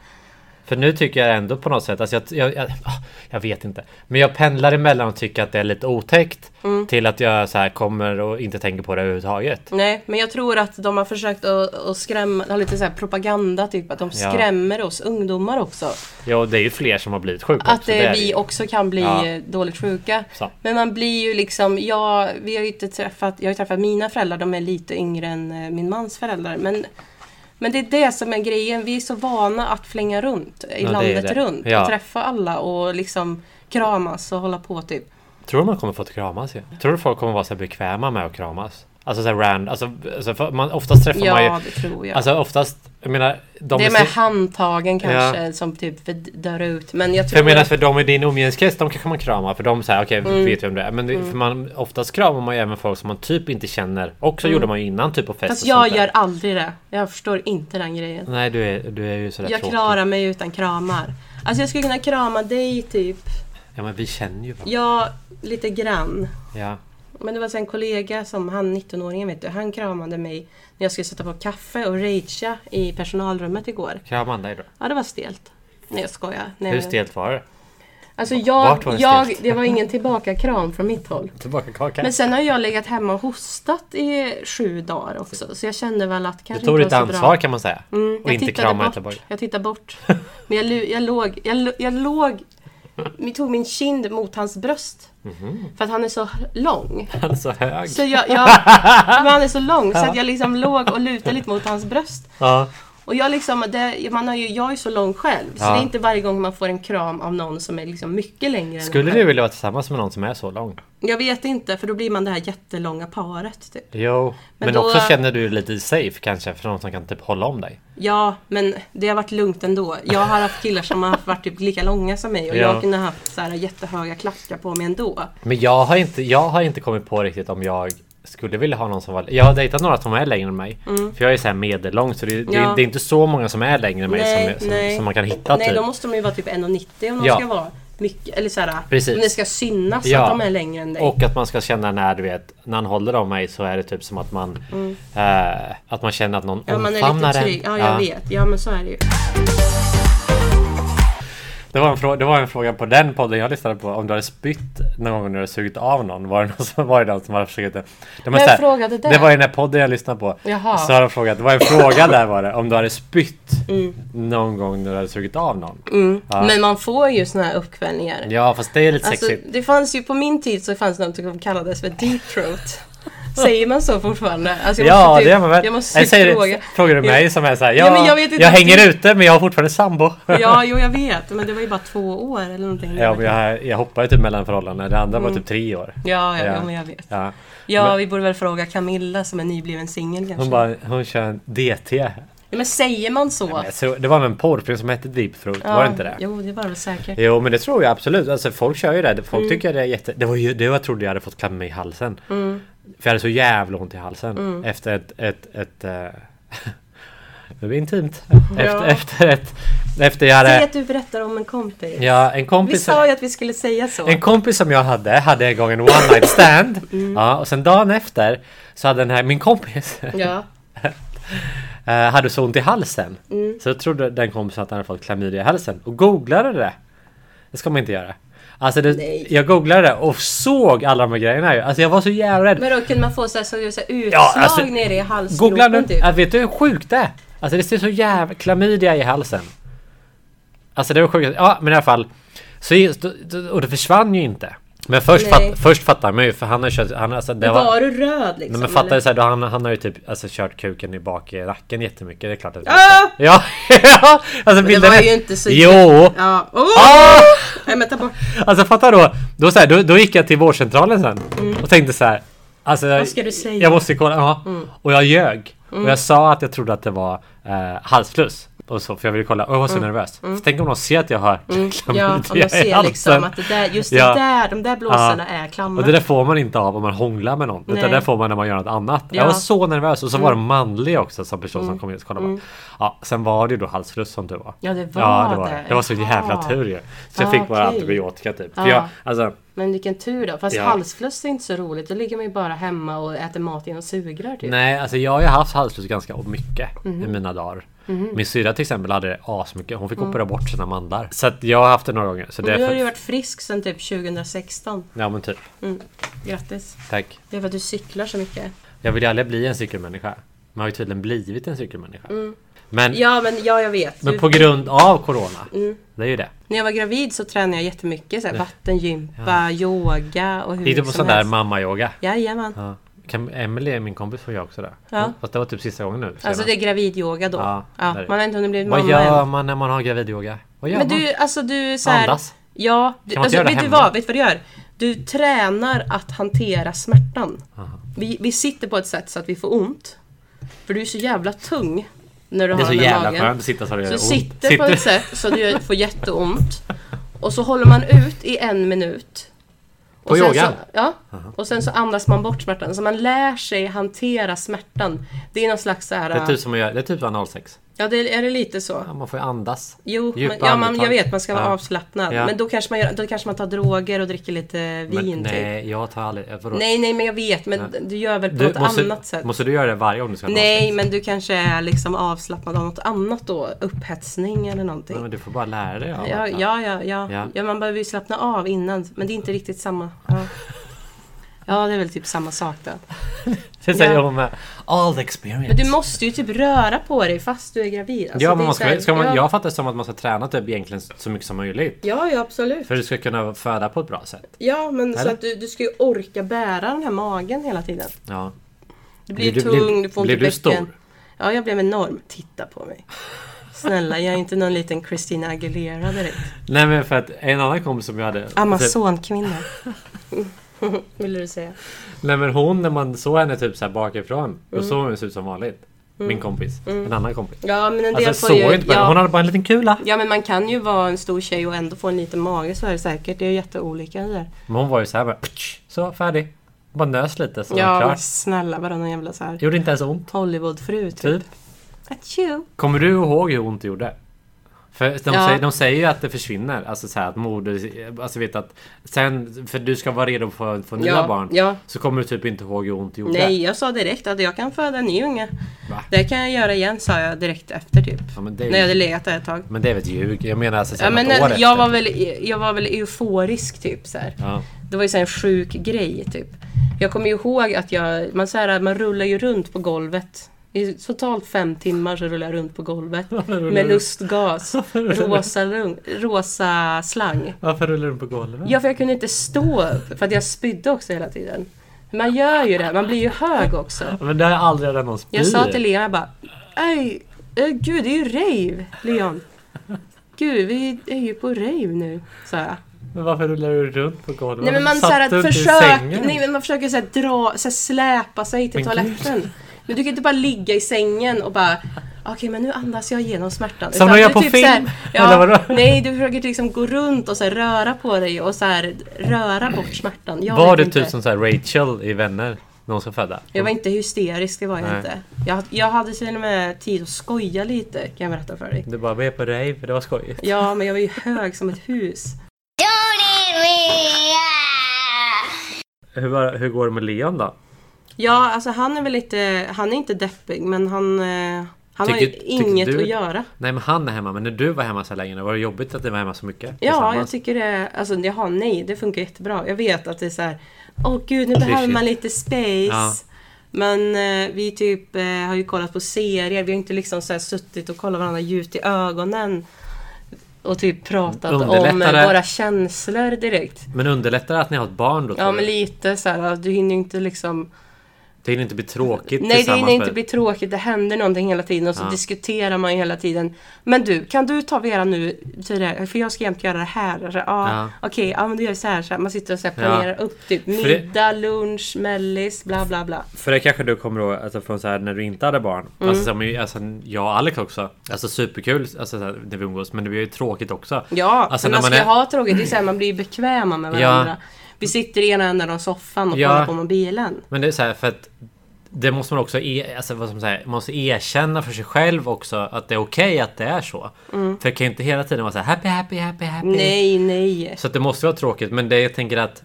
Speaker 2: För nu tycker jag ändå på något sätt, alltså jag, jag, jag, ah, jag vet inte. Men jag pendlar emellan och tycker att det är lite otäckt
Speaker 1: Mm.
Speaker 2: till att jag så här kommer och inte tänker på det överhuvudtaget.
Speaker 1: Nej, men jag tror att de har försökt att, att skrämma, ha lite så här propaganda typ, att de
Speaker 2: Ja.
Speaker 1: skrämmer oss ungdomar också.
Speaker 2: Ja, och det är ju fler som har blivit sjuka
Speaker 1: Att
Speaker 2: också,
Speaker 1: eh,
Speaker 2: det är det
Speaker 1: vi
Speaker 2: ju.
Speaker 1: också kan bli
Speaker 2: Ja.
Speaker 1: eh, dåligt sjuka.
Speaker 2: Så.
Speaker 1: Men man blir ju liksom, jag, vi har ju inte träffat, jag har ju träffat mina föräldrar, de är lite yngre än eh, min mans föräldrar. Men, men det är det som är grejen, vi är så vana att flänga runt i
Speaker 2: Ja, det är
Speaker 1: landet
Speaker 2: det.
Speaker 1: runt
Speaker 2: Ja.
Speaker 1: och träffa alla och liksom kramas och hålla på typ.
Speaker 2: Tror du man kommer få kramas? Ja? Tror du folk kommer vara så här bekväma med att kramas? Alltså såhär rand, alltså, alltså för man, oftast träffar man ju...
Speaker 1: Ja, det tror jag.
Speaker 2: Alltså oftast, jag menar... De
Speaker 1: det
Speaker 2: är
Speaker 1: är med
Speaker 2: så-
Speaker 1: handtagen kanske som typ för- dör ut. Men jag
Speaker 2: För
Speaker 1: tror
Speaker 2: jag menar
Speaker 1: att-
Speaker 2: för de i din omgivningskrets, de kanske man kramar för de säger okej,
Speaker 1: Mm.
Speaker 2: vet vem det är. Men det, för man, oftast kramar man ju även folk som man typ inte känner. Och så gjorde man ju innan typ på fest
Speaker 1: Mm. Fast
Speaker 2: och sånt
Speaker 1: jag
Speaker 2: där.
Speaker 1: gör aldrig det. Jag förstår inte den grejen.
Speaker 2: Nej, du är, du är ju sådär
Speaker 1: Jag
Speaker 2: tråkig.
Speaker 1: klarar mig utan kramar. Alltså jag skulle kunna krama dig typ.
Speaker 2: Ja, men vi känner ju varandra.
Speaker 1: Ja, lite grann.
Speaker 2: Ja.
Speaker 1: Men det var så en kollega som, han 19-åringen vet du, han kramade mig när jag skulle sätta på kaffe och ragea i personalrummet igår.
Speaker 2: Kramade han dig då?
Speaker 1: Ja, det var stelt. Nej, jag skojar. Nej,
Speaker 2: Hur
Speaker 1: men-
Speaker 2: stelt var det?
Speaker 1: Alltså jag,
Speaker 2: Vart var det
Speaker 1: jag,
Speaker 2: stelt?
Speaker 1: det var ingen tillbaka-kram från mitt håll.
Speaker 2: Tillbaka kakan.
Speaker 1: Men sen har jag legat hemma och hostat i sju dagar också, så jag kände väl att
Speaker 2: Du
Speaker 1: kanske
Speaker 2: tog ditt
Speaker 1: inte var så bra.
Speaker 2: ansvar kan man säga.
Speaker 1: Mm,
Speaker 2: och
Speaker 1: jag
Speaker 2: inte
Speaker 1: tittade
Speaker 2: kramade
Speaker 1: bort.
Speaker 2: tillbaka.
Speaker 1: Jag tittade bort. Men jag, lu- jag låg... Jag, lo- jag låg... Vi tog min kind mot hans bröst.
Speaker 2: Mhm.
Speaker 1: För att han är så lång.
Speaker 2: Han är så hög.
Speaker 1: Så jag, jag, men han är så lång så att jag liksom låg och lutade lite mot hans bröst.
Speaker 2: Ja.
Speaker 1: Och jag liksom, det, man har ju, jag är så lång själv. Så
Speaker 2: Ja.
Speaker 1: det är inte varje gång man får en kram av någon som är liksom mycket längre än
Speaker 2: Skulle
Speaker 1: en
Speaker 2: du
Speaker 1: själv.
Speaker 2: vilja vara tillsammans med någon som är så lång?
Speaker 1: Jag vet inte, för då blir man det här jättelånga paret. Typ.
Speaker 2: Jo. Men,
Speaker 1: Men då-
Speaker 2: också känner du dig lite safe kanske för någon som kan typ hålla om dig.
Speaker 1: Ja, men det har varit lugnt ändå. Jag har haft killar som har varit typ lika långa som mig och
Speaker 2: Ja.
Speaker 1: jag kunde ha haft så här jättehöga klackar på mig ändå.
Speaker 2: Men jag har inte, jag har inte kommit på riktigt om jag skulle vilja ha någon som var... Jag har dejtat några som är längre än mig. För jag är så här medellång så det, det,
Speaker 1: Mm. Ja.
Speaker 2: är- det är inte så många som är längre än mig
Speaker 1: Nej,
Speaker 2: som, som,
Speaker 1: nej.
Speaker 2: som man kan hitta
Speaker 1: Nej,
Speaker 2: typ.
Speaker 1: då måste de ju vara typ 1,90 om de
Speaker 2: Ja.
Speaker 1: ska vara mycket, eller så här,
Speaker 2: Precis.
Speaker 1: om det ska synas
Speaker 2: Ja.
Speaker 1: att de är längre än dig.
Speaker 2: Och att man ska känna när du vet När han håller om mig så är det typ som att man eh, Att man känner att någon
Speaker 1: Mm. ja, man är
Speaker 2: omfamnar
Speaker 1: lite
Speaker 2: en
Speaker 1: trygg. Ja, jag vet. Ja, men så är det ju.
Speaker 2: det, var en fråga, det var en fråga på den podden jag lyssnade på Om du hade spytt någon gång när du hade sugit av någon Var det någon som, var det någon som hade försökt det? De är
Speaker 1: Vem
Speaker 2: så här-
Speaker 1: frågade det?
Speaker 2: Det var i den här podden jag lyssnade på
Speaker 1: Jaha.
Speaker 2: Så har de frågat Det var en fråga där var det Om du hade spytt
Speaker 1: Mm.
Speaker 2: Någon gång när du hade sugit av någon Ja.
Speaker 1: Men man får ju såna här uppkvällningar.
Speaker 2: Ja fast det är lite
Speaker 1: alltså,
Speaker 2: sexigt
Speaker 1: det fanns ju på min tid så fanns det något som kallades för deep throat. Säger man så fortfarande? Alltså, jag
Speaker 2: Ja
Speaker 1: måste typ-
Speaker 2: det gör man väl?
Speaker 1: Jag
Speaker 2: Eller
Speaker 1: måste
Speaker 2: säger
Speaker 1: typ
Speaker 2: du-
Speaker 1: fråga.
Speaker 2: Frågar du
Speaker 1: Ja.
Speaker 2: mig som är såhär
Speaker 1: Ja,
Speaker 2: Ja,
Speaker 1: men jag
Speaker 2: jag,
Speaker 1: vet inte
Speaker 2: jag
Speaker 1: att
Speaker 2: hänger
Speaker 1: du-
Speaker 2: ute men jag har fortfarande sambo
Speaker 1: Ja, jo jag vet. Men det var ju bara två år eller någonting.
Speaker 2: Ja, men jag, jag hoppade typ mellan förhållanden. Det andra
Speaker 1: Mm.
Speaker 2: var typ tre år.
Speaker 1: ja, ja,
Speaker 2: Ja.
Speaker 1: ja, men jag vet.
Speaker 2: Ja.
Speaker 1: Ja,
Speaker 2: Men-
Speaker 1: vi borde väl fråga Camilla som är nybliven singel kanske.
Speaker 2: Hon, bara, hon kör en DT.
Speaker 1: ja, men säger man så?
Speaker 2: Jag tror- Det var väl en porrfilm som hette Deep Throat? Var det inte det?
Speaker 1: Jo, det var det säkert.
Speaker 2: Jo men det tror jag absolut. Alltså folk kör ju det.
Speaker 1: Mm.
Speaker 2: Folk tycker det är jätte... Det var ju det jag trodde jag hade fått klämma mig i halsen.
Speaker 1: Mm.
Speaker 2: För jag hade så jävla ont i halsen. Efter ett... ett, ett eh, det blir intimt. Efter, efter ett... Efter jag
Speaker 1: Säg
Speaker 2: hade...
Speaker 1: att du berättar om en kompis.
Speaker 2: Ja, en
Speaker 1: vi
Speaker 2: kompis...
Speaker 1: sa ju att vi skulle säga så.
Speaker 2: En kompis som jag hade, hade en gång en one night stand.
Speaker 1: Mm.
Speaker 2: Ja, och sen dagen efter så hade den här, min kompis,
Speaker 1: Ja.
Speaker 2: Eh, hade så ont i halsen. Så jag trodde den kompisen att han hade fått klamydia i halsen och googlade det. Det ska man inte göra. Alltså det,
Speaker 1: Nej.
Speaker 2: jag googlade det och såg alla de här grejerna ju. Alltså jag var så jävla rädd.
Speaker 1: Men då kunde man få så här, så, så här, utslag
Speaker 2: Ja, alltså,
Speaker 1: nere i halsgropen
Speaker 2: Googla nu!
Speaker 1: typ.
Speaker 2: Ja, vet du hur sjukt det är? Alltså det ser så jävla... Klamydia i halsen. Alltså det var sjukt. Ja, men i alla fall. Så, och det försvann ju inte. Men först,
Speaker 1: Nej.
Speaker 2: fatt, först fattar man ju för han har kört... Han, alltså, det
Speaker 1: Men
Speaker 2: var,
Speaker 1: var, du röd liksom?
Speaker 2: Nej, men fattar
Speaker 1: eller?
Speaker 2: du såhär, då han, han har ju typ alltså, kört kuken i bak i racken jättemycket. Det är klart att...
Speaker 1: Ah!
Speaker 2: Ja! ja! Alltså
Speaker 1: det
Speaker 2: bilden...
Speaker 1: var
Speaker 2: är-
Speaker 1: ju inte så...
Speaker 2: Jo!
Speaker 1: Ja. Åh!
Speaker 2: Ah!
Speaker 1: Nej men ta bort.
Speaker 2: Alltså fatta då, då, så här, då, då gick jag till vårdcentralen sen och tänkte så här. Alltså,
Speaker 1: Mm. Vad ska du säga? Mm.
Speaker 2: Jag måste kolla, ja. Och jag ljög. Och jag sa att jag trodde att det var eh, halsfluss. Och så, för jag ville kolla, och jag var så nervös. För tänk om de ser att jag har
Speaker 1: Mm. Ja, om
Speaker 2: klamydia
Speaker 1: de
Speaker 2: i
Speaker 1: ser
Speaker 2: halsen.
Speaker 1: liksom att det där, just
Speaker 2: Ja.
Speaker 1: det där, de där blåsorna är klammer.
Speaker 2: Och det där får man inte av om man hånglar med någon.
Speaker 1: Nej.
Speaker 2: Utan det får man när man gör något annat.
Speaker 1: Ja. Mm.
Speaker 2: Jag var så nervös. Och så var det manlig också som person som kom in och kollade. mig. Ja, sen var det ju då halsfluss som du var.
Speaker 1: Ja, det var
Speaker 2: ja, det, var det.
Speaker 1: det.
Speaker 2: det var så
Speaker 1: Ja.
Speaker 2: jävla tur ju. Så jag
Speaker 1: Ah,
Speaker 2: fick bara
Speaker 1: okej.
Speaker 2: antibiotika typ.
Speaker 1: Ja.
Speaker 2: För jag, alltså,
Speaker 1: Men vilken tur då. Fast
Speaker 2: Ja.
Speaker 1: halsfluss är inte så roligt. Då ligger man ju bara hemma och äter mat genom sugrör typ.
Speaker 2: Nej, alltså jag har ju haft halsfluss ganska mycket
Speaker 1: Mm.
Speaker 2: i mina dagar. Min syrra till exempel hade det asmycket. Hon fick operera bort sina mandlar. Så att jag har haft det några gånger. Så det
Speaker 1: Mm. Och du
Speaker 2: är
Speaker 1: har
Speaker 2: för...
Speaker 1: ju varit frisk sedan typ 2016.
Speaker 2: Ja men typ.
Speaker 1: Grattis!
Speaker 2: Tack.
Speaker 1: Det är för att du cyklar så mycket.
Speaker 2: Jag vill ju aldrig bli en cykelmänniska. Men jag har ju tydligen blivit en cykelmänniska.
Speaker 1: Mm.
Speaker 2: Men,
Speaker 1: Ja, men ja, jag vet.
Speaker 2: men
Speaker 1: Du, Mm.
Speaker 2: på grund av Corona. Det är ju det.
Speaker 1: När jag var gravid så tränade jag jättemycket. Så här, vattengympa, yoga och hur
Speaker 2: Gick du
Speaker 1: mycket
Speaker 2: på sån
Speaker 1: som
Speaker 2: där
Speaker 1: helst.
Speaker 2: mammayoga?
Speaker 1: Jajamän.
Speaker 2: Ja. Kan, Emelie, min kompis, får jag också det.
Speaker 1: Ja.
Speaker 2: Fast det var typ sista gången nu.
Speaker 1: Alltså
Speaker 2: senast.
Speaker 1: det är gravidyoga då. Ja,
Speaker 2: Ja, där är-
Speaker 1: man har inte hunnit bli mamma
Speaker 2: Vad gör
Speaker 1: än.
Speaker 2: man när man har gravidyoga? Vad gör
Speaker 1: Men
Speaker 2: man?
Speaker 1: du, alltså du så här,
Speaker 2: Andas.
Speaker 1: Ja. Du,
Speaker 2: Kan man inte
Speaker 1: alltså,
Speaker 2: göra det
Speaker 1: vet du
Speaker 2: hemma?
Speaker 1: vad? Vet du vad du gör? Du tränar att hantera smärtan. Vi, vi sitter på ett sätt så att vi får ont. För du är så jävla tung. När du
Speaker 2: Det
Speaker 1: har
Speaker 2: är så
Speaker 1: den där
Speaker 2: jävla
Speaker 1: magen.
Speaker 2: skönt att sitta så det gör
Speaker 1: Så du
Speaker 2: ont.
Speaker 1: sitter, på ett sätt så du gör- får jätteont. Och så håller man ut i en minut. Och
Speaker 2: På
Speaker 1: sen
Speaker 2: yogan?
Speaker 1: Så, ja. Och sen så andas man bort smärtan. Så man lär sig hantera smärtan. Det är någon slags så här...
Speaker 2: Det är typ som att göra, det är typ analsex.
Speaker 1: Ja, det är det lite så.
Speaker 2: Ja, man får ju andas.
Speaker 1: Jo,
Speaker 2: Djupa
Speaker 1: men, ja, man, jag
Speaker 2: andetag.
Speaker 1: vet. Man ska vara
Speaker 2: Ja.
Speaker 1: avslappnad.
Speaker 2: Ja.
Speaker 1: Men då kanske, man gör, då kanske man tar droger och dricker lite
Speaker 2: Men,
Speaker 1: vin typ.
Speaker 2: nej, jag tar aldrig... Vadå?
Speaker 1: Nej, nej, men jag vet. Men du gör väl på något annat sätt.
Speaker 2: Måste du göra det varje gång du ska ha analsex?
Speaker 1: Nej, men du kanske är liksom avslappnad av något annat då. Upphetsning eller någonting.
Speaker 2: Nej, Men du får bara lära dig av
Speaker 1: Ja,
Speaker 2: det.
Speaker 1: ja, ja, ja. ja.
Speaker 2: Ja.
Speaker 1: man behöver ju slappna av innan. Men det är inte riktigt samma. Ja, ja det är väl typ samma sak då.
Speaker 2: Sen säger
Speaker 1: Ja.
Speaker 2: hon med all the experience.
Speaker 1: Men du måste ju typ röra på dig fast du är gravid. Alltså,
Speaker 2: ja,
Speaker 1: det är
Speaker 2: man
Speaker 1: så här-
Speaker 2: ska, ska man,
Speaker 1: ja.
Speaker 2: jag fattar det som att man ska träna typ egentligen så mycket som möjligt.
Speaker 1: Ja, ja, absolut.
Speaker 2: För du ska kunna föda på ett bra sätt.
Speaker 1: Ja, men så
Speaker 2: Eller?
Speaker 1: att du, du ska ju orka bära den här magen hela tiden.
Speaker 2: Ja.
Speaker 1: Du blir,
Speaker 2: Blev du-
Speaker 1: tung,
Speaker 2: blev-
Speaker 1: du får
Speaker 2: blev
Speaker 1: ont i
Speaker 2: du stor?
Speaker 1: bäcken. Ja, jag blev enorm. Titta på mig. Snälla, jag är inte någon liten Christina Aguilera direkt.
Speaker 2: Nej men för att en annan kompis som jag hade...
Speaker 1: Ah, Amazonkvinna. Ville du säga?
Speaker 2: Nej men hon, när man såg henne typ så här bakifrån,
Speaker 1: Mm.
Speaker 2: då såg hon ut som vanligt. Min kompis. En annan kompis.
Speaker 1: Ja, men Mm. en del
Speaker 2: Alltså
Speaker 1: får
Speaker 2: såg
Speaker 1: ju...
Speaker 2: inte på henne.
Speaker 1: ja.
Speaker 2: Hon hade bara en liten kula.
Speaker 1: Ja men man kan ju vara en stor tjej och ändå få en liten mage så är det säkert. Det är jätteolika det där.
Speaker 2: Men hon var ju så här bara... "Ptsch", Så, färdig. Bara nös lite så var
Speaker 1: Ja
Speaker 2: det
Speaker 1: men
Speaker 2: klart.
Speaker 1: snälla bara någon jävla så här
Speaker 2: Gjorde inte ens ont.
Speaker 1: Hollywoodfru typ.
Speaker 2: Typ.
Speaker 1: Achoo.
Speaker 2: Kommer du ihåg hur ont det gjorde? För de,
Speaker 1: Ja.
Speaker 2: säger, de säger ju att det försvinner. Alltså så här att moder... Alltså vet att... Sen, för du ska vara redo för att få nya
Speaker 1: Ja,
Speaker 2: barn.
Speaker 1: ja.
Speaker 2: Så kommer du typ inte ihåg hur ont det gjorde.
Speaker 1: Nej jag sa direkt att jag kan föda en ny unge.
Speaker 2: Va?
Speaker 1: Det kan jag göra igen sa jag direkt efter typ.
Speaker 2: Ja, men, det
Speaker 1: När jag
Speaker 2: är
Speaker 1: hade
Speaker 2: ju,
Speaker 1: legat där ett tag.
Speaker 2: men det är väl ett ljug? Jag menar alltså sen
Speaker 1: Ja, men
Speaker 2: ett år
Speaker 1: jag,
Speaker 2: efter.
Speaker 1: var väl, e- jag var väl euforisk typ så här.
Speaker 2: Ja.
Speaker 1: Det var ju så här en sjuk grej typ. Jag kommer ju ihåg att jag, man, så här, man rullar ju runt på golvet. I totalt fem timmar så rullar jag runt på golvet. Med lustgas. Rosa, lung, rosa slang.
Speaker 2: Varför rullar du på golvet?
Speaker 1: Ja, för jag kunde inte stå upp. För att jag spydde också hela tiden. Man gör ju det. Man blir ju hög också.
Speaker 2: Men det har jag aldrig hört någon spyr.
Speaker 1: Jag sa till Leon, jag bara Ej, eh, gud det är ju rave, Leon. Gud, vi är ju på rave nu, sa jag.
Speaker 2: Men varför rullar du runt på golvet?
Speaker 1: Nej men man,
Speaker 2: Satt
Speaker 1: såhär,
Speaker 2: du inte i
Speaker 1: försök,
Speaker 2: sängen?
Speaker 1: nej, men man försöker såhär, dra, såhär, släpa sig till
Speaker 2: Men
Speaker 1: toaletten. Men du kan inte bara ligga i sängen och bara Okej men nu andas jag igenom smärtan.
Speaker 2: Som
Speaker 1: Utan
Speaker 2: de gör
Speaker 1: du
Speaker 2: på film,
Speaker 1: såhär-
Speaker 2: eller
Speaker 1: ja,
Speaker 2: vadå?
Speaker 1: nej, du försöker liksom gå runt och såhär, röra på dig och såhär, röra bort smärtan. Jag
Speaker 2: Var
Speaker 1: vet
Speaker 2: du
Speaker 1: inte.
Speaker 2: typ som så här Rachel i Vänner? När hon ska föda?
Speaker 1: Jag var inte hysterisk, det var jag
Speaker 2: Nej.
Speaker 1: inte. Jag, jag hade till och med tid att skoja lite, kan jag berätta för dig.
Speaker 2: Du bara, vi är på rave, det var skoj.
Speaker 1: Ja, men jag var ju hög som ett hus.
Speaker 2: Hur, var, hur går det med Leon då?
Speaker 1: Ja, alltså han är väl lite, han är inte deppig, men han, eh, han har ju
Speaker 2: Tycker- tycker
Speaker 1: inget
Speaker 2: du-
Speaker 1: att göra.
Speaker 2: Nej men han är hemma, men när du var hemma så här länge, var det jobbigt att du var hemma så mycket?
Speaker 1: Ja,
Speaker 2: tillsammans?
Speaker 1: jag tycker det, alltså jaha, nej, det funkar jättebra. Jag vet att det är så här, åh gud, nu behöver
Speaker 2: shit.
Speaker 1: man lite space.
Speaker 2: Ja.
Speaker 1: Men eh, vi typ eh, har ju kollat på serier, vi har inte liksom så här suttit och kollat varandra djupt i ögonen. Och typ pratat om
Speaker 2: Underlättare.
Speaker 1: eh, våra känslor direkt.
Speaker 2: Men underlättar det att ni har ett barn då? tror
Speaker 1: Ja
Speaker 2: du?
Speaker 1: men lite så här, du hinner ju inte liksom
Speaker 2: Det hinner inte bli tråkigt
Speaker 1: Nej, det
Speaker 2: tillsammans
Speaker 1: hinner inte
Speaker 2: med-
Speaker 1: bli tråkigt. Det händer någonting hela tiden och så
Speaker 2: Ja.
Speaker 1: diskuterar man ju hela tiden. Men du, kan du ta Vera nu till det här? För jag ska jämt göra det här. Och så, ah,
Speaker 2: Ja.
Speaker 1: Okej, ja men du gör vi så här, så här. Man sitter och så här
Speaker 2: Ja.
Speaker 1: planerar upp typ
Speaker 2: För det-
Speaker 1: middag, lunch, mellis, bla bla bla.
Speaker 2: För det kanske du kommer ihåg alltså, från så här när du inte hade barn.
Speaker 1: Mm.
Speaker 2: Alltså, som, alltså jag och Alex också. Alltså superkul alltså, så här, när vi umgås men det blir ju tråkigt också.
Speaker 1: Ja,
Speaker 2: Alltså,
Speaker 1: men
Speaker 2: när
Speaker 1: man ska
Speaker 2: man är-
Speaker 1: ha tråkigt. Det är så här, man blir ju bekväma med
Speaker 2: Ja.
Speaker 1: varandra. Vi sitter i ena änden av soffan och
Speaker 2: Ja.
Speaker 1: kollar på mobilen.
Speaker 2: Men det är så här för att det måste man också e- alltså, vad ska man säga, man måste erkänna för sig själv också att det är okej att det är så. För det kan ju inte hela tiden vara så här happy, happy, happy, happy.
Speaker 1: Mm. Nej, nej.
Speaker 2: Så att det måste vara tråkigt men det jag tänker att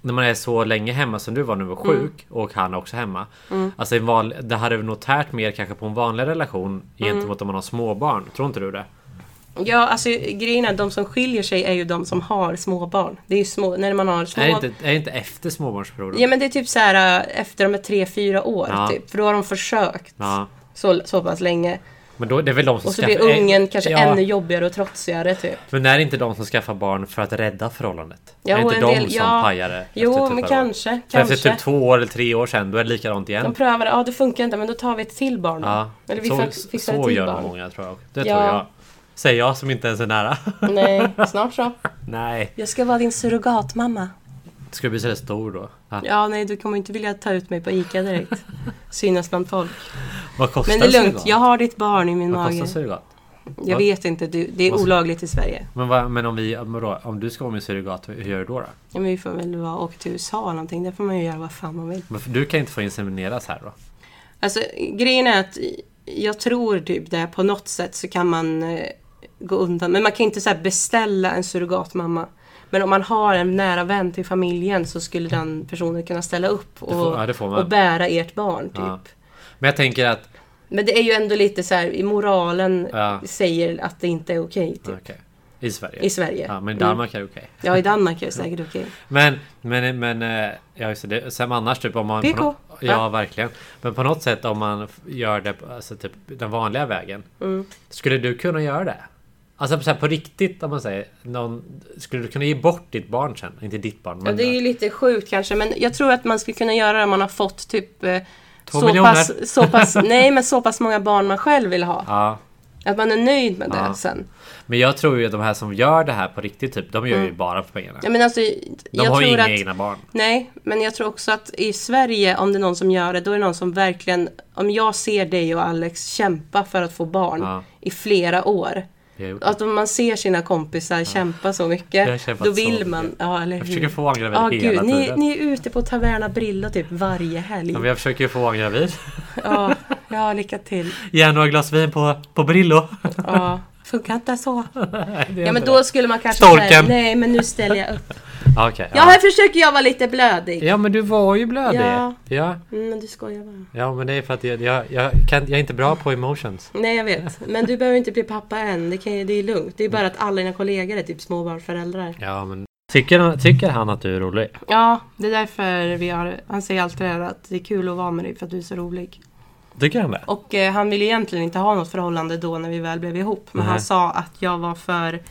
Speaker 2: när man är så länge hemma som du var när du var
Speaker 1: Mm.
Speaker 2: sjuk och han är också hemma. Alltså en van, det hade väl nog tärt mer kanske på en vanlig
Speaker 1: Mm.
Speaker 2: relation gentemot om man har småbarn. Tror inte du det?
Speaker 1: Ja, alltså grejen är att de som skiljer sig är ju de som har småbarn. Det är ju små, när man har små
Speaker 2: Är det inte, är det inte efter småbarnsperioden?
Speaker 1: Ja men det är typ så här äh, efter de är tre, fyra år
Speaker 2: Ja.
Speaker 1: typ. För då har de försökt
Speaker 2: Ja.
Speaker 1: så, så pass länge.
Speaker 2: Men då, det är väl de som
Speaker 1: Och så blir
Speaker 2: skaffar-
Speaker 1: ungen
Speaker 2: eh,
Speaker 1: kanske
Speaker 2: ja,
Speaker 1: ännu jobbigare och trotsigare typ.
Speaker 2: Men är det inte de som skaffar barn för att rädda förhållandet?
Speaker 1: Ja,
Speaker 2: är det
Speaker 1: och
Speaker 2: inte
Speaker 1: en
Speaker 2: de
Speaker 1: del-
Speaker 2: som
Speaker 1: ja.
Speaker 2: pajar det? efter typ
Speaker 1: Jo
Speaker 2: ett
Speaker 1: men
Speaker 2: par år?
Speaker 1: kanske,
Speaker 2: För Efter
Speaker 1: kanske.
Speaker 2: typ två år eller tre år sedan, då är det likadant
Speaker 1: De
Speaker 2: igen.
Speaker 1: prövade, ja det funkar inte men då tar vi ett till barn då.
Speaker 2: Ja.
Speaker 1: Eller vi
Speaker 2: så
Speaker 1: fix- fixar ett
Speaker 2: så
Speaker 1: till
Speaker 2: gör
Speaker 1: barn.
Speaker 2: många tror jag. Det
Speaker 1: Ja.
Speaker 2: tror jag. Säger jag som inte ens är nära.
Speaker 1: Nej, snart så.
Speaker 2: Nej.
Speaker 1: Jag ska vara din surrogatmamma.
Speaker 2: Ska du bli så stor då? Ja.
Speaker 1: Ja nej du kommer inte vilja ta ut mig på ICA direkt. Synas bland folk.
Speaker 2: Vad kostar
Speaker 1: Men det är lugnt,
Speaker 2: surrogat?
Speaker 1: jag har ditt barn i min
Speaker 2: Vad
Speaker 1: mage.
Speaker 2: kostar surrogat?
Speaker 1: Jag
Speaker 2: Vad-
Speaker 1: vet inte, du, det är
Speaker 2: Vad-
Speaker 1: olagligt i Sverige.
Speaker 2: Men, vad, men om, vi, om, då, om du ska vara min surrogat, hur gör du då? då?
Speaker 1: Ja, men vi får väl vara, åka till USA eller någonting. Där får man ju göra vad fan man vill.
Speaker 2: Men för- Du kan inte få insemineras här då?
Speaker 1: Alltså grejen är att jag tror typ det på något sätt så kan man eh, gå undan. Men man kan inte så här beställa en surrogatmamma. Men om man har en nära vän till familjen så skulle den personen kunna ställa upp och,
Speaker 2: Det får- ja, det får man.
Speaker 1: och bära ert barn. Typ.
Speaker 2: Ja. Men jag tänker att
Speaker 1: Men det är ju ändå lite så här, i moralen
Speaker 2: Ja.
Speaker 1: säger att det inte är okej typ,
Speaker 2: Okej. I Sverige?
Speaker 1: i Sverige. Mm.
Speaker 2: Ja, men i Danmark är det okej.
Speaker 1: Ja, i Danmark är det säkert okej.
Speaker 2: Men, men, men, eh, ja just det. det. Sen annars typ om man...
Speaker 1: PK.
Speaker 2: På nå- ja,
Speaker 1: Ja.
Speaker 2: verkligen. Men på något sätt om man f- gör det på- alltså, typ, den vanliga vägen.
Speaker 1: Mm.
Speaker 2: Skulle du kunna göra det? Alltså så här, på riktigt om man säger. Någon, skulle du kunna ge bort ditt barn sen? Inte ditt barn.
Speaker 1: Ja,
Speaker 2: Men,
Speaker 1: det är ju lite sjukt kanske, men jag tror att man skulle kunna göra det om man har fått typ eh,
Speaker 2: Två
Speaker 1: så
Speaker 2: miljoner.
Speaker 1: pass, så, pass, nej, men så pass många barn man själv vill ha.
Speaker 2: ja.
Speaker 1: Att man är nöjd med
Speaker 2: Ja.
Speaker 1: det sen.
Speaker 2: men jag tror ju att de här som gör det här på riktigt typ. De gör ju bara för pengarna.
Speaker 1: Jag menar, alltså,
Speaker 2: De
Speaker 1: jag
Speaker 2: har ju
Speaker 1: tror
Speaker 2: inga
Speaker 1: att,
Speaker 2: egna barn.
Speaker 1: Nej, men jag tror också att i Sverige, om det är någon som gör det, då är det någon som verkligen... Om jag ser dig och Alex kämpa för att få barn
Speaker 2: Ja.
Speaker 1: i flera år.
Speaker 2: Vi har gjort det.
Speaker 1: Att om man ser sina kompisar kämpa så
Speaker 2: Jag har
Speaker 1: mycket,
Speaker 2: kämpat
Speaker 1: då
Speaker 2: så
Speaker 1: vill
Speaker 2: mycket.
Speaker 1: man... Ja, eller
Speaker 2: Jag
Speaker 1: hur?
Speaker 2: försöker få honom gravid
Speaker 1: Ja,
Speaker 2: hela
Speaker 1: gud. Ni,
Speaker 2: tiden.
Speaker 1: ni är ute på Taverna Brilla typ varje helg.
Speaker 2: Ja, men jag försöker ju få honom gravid.
Speaker 1: Ja, ja lycka till.
Speaker 2: Ge några glas vin på, på Brillo.
Speaker 1: Ja. Funkar inte så?
Speaker 2: Nej, det är
Speaker 1: Ja men
Speaker 2: inte
Speaker 1: då skulle man kanske
Speaker 2: Storken.
Speaker 1: säga nej men nu ställer jag upp.
Speaker 2: det. Okej,
Speaker 1: Ja
Speaker 2: ja.
Speaker 1: här försöker jag vara lite blödig.
Speaker 2: ja men du var ju blödig.
Speaker 1: Ja.
Speaker 2: ja.
Speaker 1: Mm, men du skojar bara.
Speaker 2: Ja men det är för att jag, jag, jag, kan, jag är inte bra på emotions.
Speaker 1: Nej jag vet. Men du behöver inte bli pappa än. Det, kan, ju- det är lugnt. Det är bara att alla dina kollegor är typ småbarnsföräldrar.
Speaker 2: Ja men tycker, han- tycker han att du är rolig?
Speaker 1: Ja, det är därför vi har... Han säger alltid det här att det är kul att vara med dig för att du är så rolig.
Speaker 2: Tycker han det?
Speaker 1: Och eh, han ville egentligen inte ha något förhållande då när vi väl blev ihop. Men
Speaker 2: Nej.
Speaker 1: han sa att jag var för,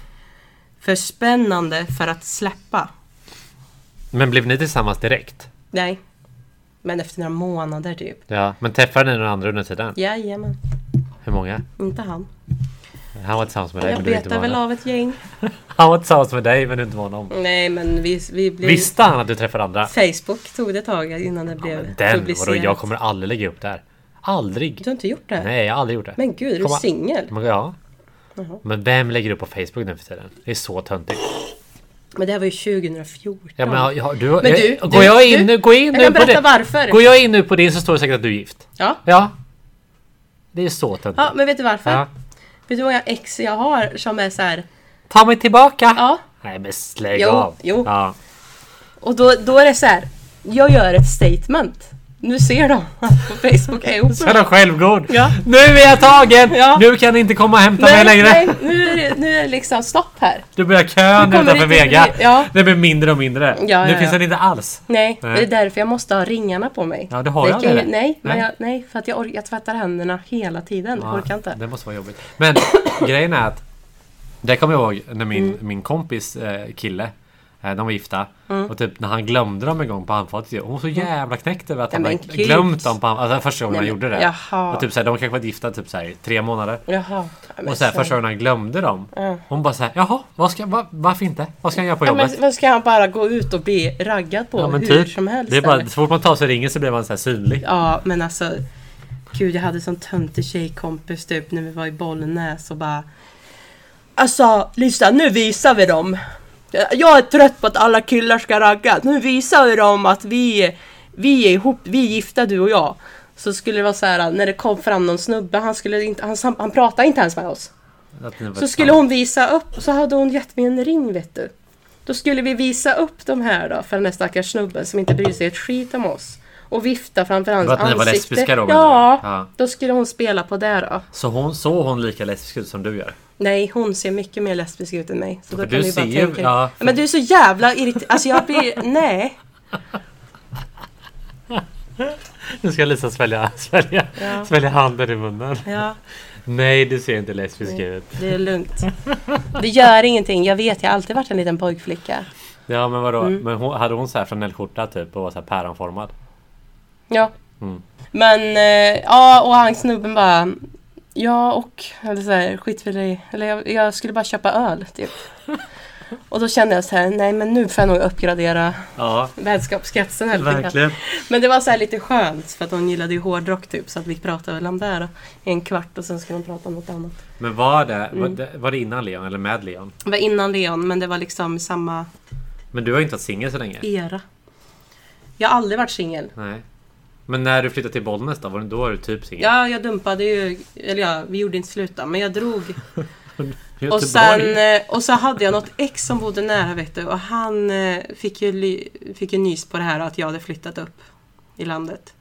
Speaker 1: för spännande för att släppa.
Speaker 2: Men blev ni tillsammans direkt?
Speaker 1: Nej. Men efter några månader typ.
Speaker 2: Ja. Men träffade ni någon andra under tiden?
Speaker 1: Jajamän,
Speaker 2: Hur många?
Speaker 1: inte han.
Speaker 2: Han var tillsammans med dig
Speaker 1: jag
Speaker 2: men du inte
Speaker 1: betar
Speaker 2: var
Speaker 1: väl
Speaker 2: någon.
Speaker 1: av ett gäng.
Speaker 2: Han var tillsammans med dig men du inte var någon.
Speaker 1: Nej men vi, vi blev...
Speaker 2: Visste han att du träffade andra?
Speaker 1: Facebook tog det ett tag innan det blev
Speaker 2: Men den,
Speaker 1: publicerat.
Speaker 2: vadå, jag kommer aldrig lägga upp det här. Aldrig!
Speaker 1: Du har inte gjort det?
Speaker 2: Nej, Mm. jag har aldrig gjort det.
Speaker 1: Men gud, är du
Speaker 2: Komma-
Speaker 1: singel?
Speaker 2: Men, ja.
Speaker 1: Jaha.
Speaker 2: Men vem lägger upp på Facebook nu för tiden? Det är så töntigt.
Speaker 1: Men det här var ju 2014.
Speaker 2: Ja, men, ja, ja, du, men
Speaker 1: Men du,
Speaker 2: jag,
Speaker 1: du-
Speaker 2: går jag in
Speaker 1: du-
Speaker 2: nu, går jag in
Speaker 1: jag
Speaker 2: nu
Speaker 1: kan
Speaker 2: på
Speaker 1: berätta
Speaker 2: det.
Speaker 1: varför.
Speaker 2: Går jag in nu på din så står det säkert att du är gift.
Speaker 1: Ja.
Speaker 2: Ja. Det är så töntigt.
Speaker 1: ja, men vet du varför?
Speaker 2: Ja.
Speaker 1: Vet du hur många ex jag har som är så här...
Speaker 2: Ta mig tillbaka!
Speaker 1: Ja.
Speaker 2: Nej men slägg
Speaker 1: Jo,
Speaker 2: av!
Speaker 1: jo.
Speaker 2: Ja.
Speaker 1: Och då, då är det så här. Jag gör ett statement. Nu ser de på Facebook är
Speaker 2: Så är
Speaker 1: Oprah.
Speaker 2: de självgod.
Speaker 1: Ja.
Speaker 2: Nu är jag tagen!
Speaker 1: Ja.
Speaker 2: Nu kan ni inte komma och hämta mig
Speaker 1: Nej,
Speaker 2: längre.
Speaker 1: nej, nu är, det, nu är det liksom stopp här.
Speaker 2: Du börjar kön
Speaker 1: Du kommer
Speaker 2: utanför
Speaker 1: inte-
Speaker 2: Vega.
Speaker 1: ja.
Speaker 2: Det blir mindre och mindre.
Speaker 1: ja,
Speaker 2: nu
Speaker 1: ja.
Speaker 2: finns den inte alls.
Speaker 1: Nej,
Speaker 2: Nej.
Speaker 1: det är därför jag måste ha ringarna på mig.
Speaker 2: Ja, det har jag
Speaker 1: kan ju-
Speaker 2: aldrig det.
Speaker 1: Nej, men
Speaker 2: Nej.
Speaker 1: jag, nej, för att jag, orkar, jag tvättar händerna hela tiden. Jag
Speaker 2: Ja,
Speaker 1: orkar inte.
Speaker 2: Det måste vara jobbigt. Men grejen är att det kommer jag ihåg när min,
Speaker 1: Mm.
Speaker 2: min kompis eh, kille eh, de var gifta
Speaker 1: Mm.
Speaker 2: och typ när han glömde dem en gång på handfatet. ju. Hon var så jävla knäckt över att han
Speaker 1: Nej,
Speaker 2: hade
Speaker 1: men gud.
Speaker 2: glömt dem på handfatet. Alltså, första gången
Speaker 1: Nej,
Speaker 2: han gjorde
Speaker 1: men-
Speaker 2: det.
Speaker 1: jaha.
Speaker 2: Och typ såhär, de kanske varit gifta typ såhär, i tre månader.
Speaker 1: Jaha. Ja, men
Speaker 2: Och såhär,
Speaker 1: så-
Speaker 2: första gången han glömde dem. Hon bara såhär, jaha, vad ska, va, varför inte? Vad ska han göra på
Speaker 1: Ja,
Speaker 2: jobbet?
Speaker 1: men, men ska han bara gå ut och bli raggad på
Speaker 2: Ja, men
Speaker 1: hur
Speaker 2: typ.
Speaker 1: som helst?
Speaker 2: det är bara,
Speaker 1: eller?
Speaker 2: så fort man tar sig ringen så blir man så här synlig.
Speaker 1: Ja, men alltså. Gud, jag hade sån töntig tjejkompis typ när vi var i Bollnäs och bara. Alltså, lyssna, nu visar vi dem. Jag är trött på att alla killar ska ragga. Nu visar vi dem att vi, vi är ihop, vi är gifta du och jag. Så skulle det vara så här när det kom fram någon snubbe, han, skulle inte, han, sam- han pratade inte ens med oss.
Speaker 2: Att ni var
Speaker 1: Så skulle hon visa upp, och så hade hon gett mig en ring vet du. Då skulle vi visa upp de här då för den där stackars snubben som inte bryr sig ett skit om oss. Och vifta framför hans
Speaker 2: För att ni
Speaker 1: ansikte.
Speaker 2: var lesbiska då, menar du?
Speaker 1: ja,
Speaker 2: Ja.
Speaker 1: då skulle hon spela på det då.
Speaker 2: Så hon såg hon lika lesbisk ut som du gör?
Speaker 1: Nej, hon ser mycket mer lesbisk ut än mig. Så då
Speaker 2: För
Speaker 1: kan
Speaker 2: du
Speaker 1: du ju bara
Speaker 2: ser ju-
Speaker 1: tänka
Speaker 2: ja.
Speaker 1: Men du är så jävla irriterad. Alltså jag blir... Nej.
Speaker 2: Nu ska Lisa svälja, svälja, svälja handen i munnen.
Speaker 1: Ja,
Speaker 2: Nej, du ser inte lesbisk ut.
Speaker 1: det är lugnt. Det gör ingenting. Jag vet, jag har alltid varit en liten pojkflicka.
Speaker 2: Ja, men vadå? Men hon, hade hon så här flanellskjorta typ och var så här päronformad?
Speaker 1: Ja. Men, eh, ja och han snubben bara Ja och, eller så här, skit för dig. Eller jag, jag skulle bara köpa öl typ. och då kände jag så här, nej men nu får jag nog uppgradera
Speaker 2: Ja,
Speaker 1: vänskapskretsen eller Men det var så här lite skönt för att hon gillade ju hårdrock typ så att vi pratade väl om det här i en kvart och sen skulle de prata om något annat.
Speaker 2: Men var det, var det, var det innan Leon eller med Leon?
Speaker 1: Det var innan Leon men det var liksom samma
Speaker 2: Men du har ju inte varit singel så länge.
Speaker 1: era. Jag har aldrig varit singel.
Speaker 2: Nej. Men när du flyttade till Bollnäs då? Var, du- då var du typ singel?
Speaker 1: Ja, jag dumpade ju, eller ja, vi gjorde inte slut då, men jag drog Och
Speaker 2: Göteborg.
Speaker 1: sen, eh, och så hade jag något ex som bodde nära vet du och han eh, fick ju, ly- fick ju nys på det här att jag hade flyttat upp i landet.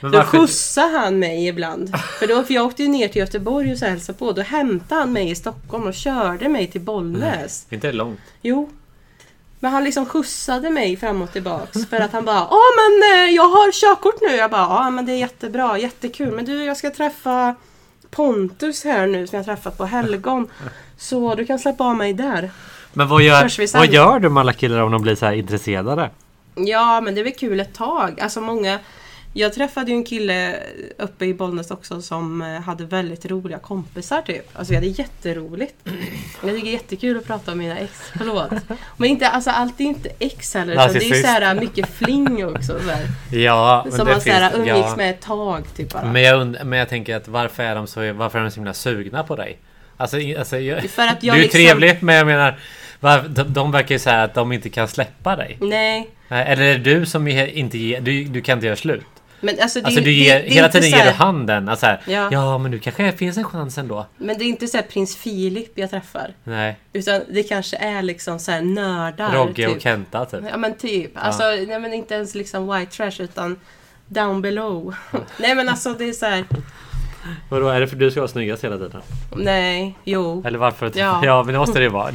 Speaker 2: Men
Speaker 1: Då
Speaker 2: varför-
Speaker 1: skjutsade han mig ibland. För då, för jag åkte ju ner till Göteborg och så hälsade på. Då hämtade han mig i Stockholm och körde mig till Bollnäs.
Speaker 2: Inte det långt?
Speaker 1: Jo. Men han liksom skjutsade mig fram och tillbaks för att han bara Ja men eh, jag har körkort nu. Jag bara ja men det är jättebra, jättekul. Men du jag ska träffa Pontus här nu som jag träffat på helgon. Så du kan släppa av mig där.
Speaker 2: Men vad gör,
Speaker 1: Hörs vi sen?
Speaker 2: vad gör du med alla killar om de blir så här intresserade?
Speaker 1: Ja men det är väl kul ett tag. Alltså många Jag träffade ju en kille uppe i Bollnäs också som eh, hade väldigt roliga kompisar typ. Alltså vi hade jätteroligt. Jag tycker det är jättekul att prata om mina ex. Förlåt. Men inte, alltså allt är inte ex heller. utan Det är ju
Speaker 2: Narcissist.
Speaker 1: såhär mycket fling också. Så här.
Speaker 2: Ja, men
Speaker 1: Som
Speaker 2: det
Speaker 1: man såhär
Speaker 2: finns-
Speaker 1: umgicks
Speaker 2: ja.
Speaker 1: med ett tag typ bara.
Speaker 2: Men jag, und- men jag tänker att varför är de så, varför är de så himla sugna på dig? Alltså, i- alltså jag,
Speaker 1: För att
Speaker 2: du är
Speaker 1: jag
Speaker 2: ju
Speaker 1: liksom-
Speaker 2: trevlig men jag menar var, de, de verkar ju säga att de inte kan släppa dig.
Speaker 1: Nej.
Speaker 2: Eh, Eller är det du som ge- inte ger, du, du kan inte göra slut.
Speaker 1: Men alltså, det,
Speaker 2: Alltså
Speaker 1: är-
Speaker 2: du
Speaker 1: det-
Speaker 2: ger,
Speaker 1: det är
Speaker 2: hela
Speaker 1: inte
Speaker 2: tiden
Speaker 1: så här-
Speaker 2: ger du handen. Alltså, här, ja.
Speaker 1: Ja.
Speaker 2: men du kanske finns en chans ändå.
Speaker 1: Men det är inte såhär prins Filip jag träffar.
Speaker 2: Nej,
Speaker 1: Utan det kanske är liksom såhär nördar.
Speaker 2: Rogge
Speaker 1: typ.
Speaker 2: och Kenta typ.
Speaker 1: Ja men typ. Alltså, nej, men inte ens liksom white trash utan down below.
Speaker 2: Mm.
Speaker 1: nej men alltså det är så här.
Speaker 2: Vadå, är det för du ska vara snyggast hela tiden?
Speaker 1: Nej, jo.
Speaker 2: Eller varför? typ? Ja,
Speaker 1: Ja.
Speaker 2: men det måste det ju vara.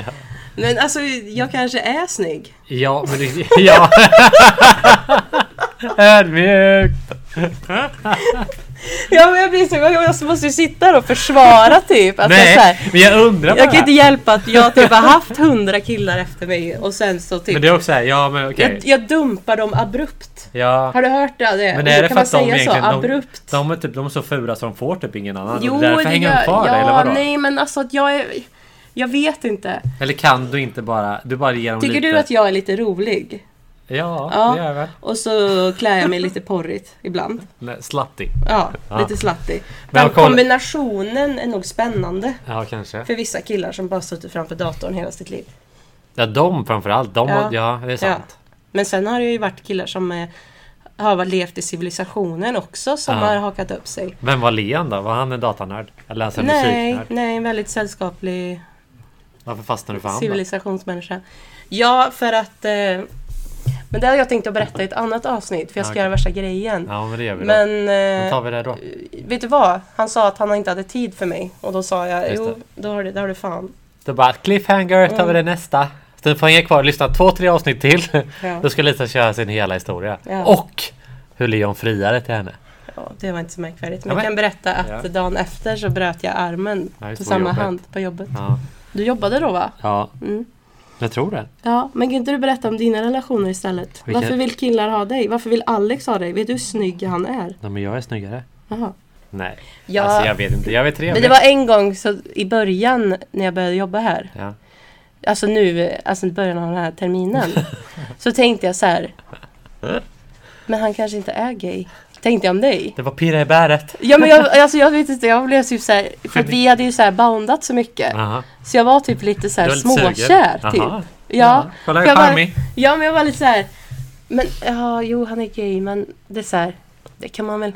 Speaker 1: Men alltså jag kanske är snygg.
Speaker 2: Ja, men det, ja. Ödmjukt!
Speaker 1: Ja men jag blir så, jag jag måste ju sitta där och försvara typ. Att jag, så här,
Speaker 2: Nej, men jag undrar
Speaker 1: jag
Speaker 2: bara.
Speaker 1: kan inte hjälpa att jag typ har haft hundra killar efter mig och sen så typ.
Speaker 2: Men det är också såhär, ja men okej.
Speaker 1: jag, jag dumpar dem abrupt.
Speaker 2: Ja.
Speaker 1: Har du hört det? det?
Speaker 2: Men är
Speaker 1: kan
Speaker 2: det för
Speaker 1: man
Speaker 2: att de
Speaker 1: säga så
Speaker 2: egentligen...
Speaker 1: abrupt?
Speaker 2: De, de, är typ, de är så fula som de får typ ingen annan.
Speaker 1: jo,
Speaker 2: och därför
Speaker 1: det
Speaker 2: hänger
Speaker 1: gör-
Speaker 2: de kvar
Speaker 1: ja,
Speaker 2: där, eller vadå?
Speaker 1: nej men alltså att jag är... Jag vet inte.
Speaker 2: Eller kan du inte bara... Du bara ger dem
Speaker 1: Tycker
Speaker 2: lite...
Speaker 1: du att jag är lite rolig?
Speaker 2: Ja,
Speaker 1: Ja.
Speaker 2: det gör jag väl.
Speaker 1: Och så klär jag mig lite porrigt ibland.
Speaker 2: Nej, Slutty.
Speaker 1: Ja,
Speaker 2: Ja.
Speaker 1: lite slattig.
Speaker 2: Men
Speaker 1: Den
Speaker 2: jag kollar-
Speaker 1: kombinationen är nog spännande
Speaker 2: Ja, kanske.
Speaker 1: för vissa killar som bara suttit framför datorn hela sitt liv.
Speaker 2: Ja, de framförallt. De, ja.
Speaker 1: Ja.
Speaker 2: ja, det är sant.
Speaker 1: Men sen har det ju varit killar som eh, har varit- levt i civilisationen också som
Speaker 2: Ja.
Speaker 1: har hakat upp sig.
Speaker 2: Vem var Leon då? Var han en datanörd? Eller alltså en
Speaker 1: Nej,
Speaker 2: musiknörd?
Speaker 1: nej, en väldigt sällskaplig
Speaker 2: Varför fastnade du för han då?
Speaker 1: civilisationsmänniska. Ja, för att eh, Men det hade jag tänkt att berätta i ett annat avsnitt för jag ska
Speaker 3: Okej.
Speaker 1: göra värsta grejen.
Speaker 3: Ja men det gör vi då. Men,
Speaker 1: Men
Speaker 3: då
Speaker 1: eh,
Speaker 3: tar vi det då.
Speaker 1: vet du vad? Han sa att han inte hade tid för mig och då sa jag
Speaker 3: Just
Speaker 1: jo,
Speaker 3: det.
Speaker 1: det har du, det har du fan.
Speaker 3: Då bara cliffhanger, tar
Speaker 1: Mm.
Speaker 3: vi det nästa. Så du får hänga kvar och lyssna två, tre avsnitt till.
Speaker 1: Ja.
Speaker 3: Då ska Lisa köra sin hela historia.
Speaker 1: Ja.
Speaker 3: Och hur Leon friade till henne.
Speaker 1: Ja, det var inte så märkvärdigt. Men
Speaker 3: Ja,
Speaker 1: jag kan berätta att
Speaker 2: Ja.
Speaker 1: dagen efter så bröt jag armen
Speaker 3: Ja, just
Speaker 1: på
Speaker 3: på
Speaker 1: samma
Speaker 3: jobbet.
Speaker 1: hand på jobbet.
Speaker 3: Ja.
Speaker 1: Du jobbade då va?
Speaker 3: ja.
Speaker 1: Mm.
Speaker 3: Jag tror det.
Speaker 1: Ja, men kan inte du berätta om dina relationer istället?
Speaker 3: Vilka-
Speaker 1: Varför vill killar ha dig? Varför vill Alex ha dig? Vet du hur snygg han är?
Speaker 3: Nej, men jag är snyggare.
Speaker 1: Jaha.
Speaker 3: Nej.
Speaker 1: Ja.
Speaker 3: Alltså jag vet inte. Jag vet trevligt.
Speaker 1: Men det var en gång så i början när jag började jobba här.
Speaker 3: Ja.
Speaker 1: Alltså nu, alltså i början av den här terminen. så tänkte jag så här. Men han kanske inte är gay. Tänkte jag om dig.
Speaker 3: Det var pirra i bäret.
Speaker 1: Ja men jag, alltså jag vet inte, jag blev typ så här, för att vi hade ju så här boundat så mycket.
Speaker 3: Aha.
Speaker 1: Så jag var typ lite så här
Speaker 3: Du var lite sugen.
Speaker 1: småkär typ.
Speaker 3: Aha.
Speaker 1: Ja.
Speaker 2: Kolla
Speaker 1: Jag
Speaker 2: hur
Speaker 1: bara-
Speaker 2: charmig!
Speaker 1: ja, men jag var lite så här. Men ja, jo han är gay men det är så här. Det kan man väl.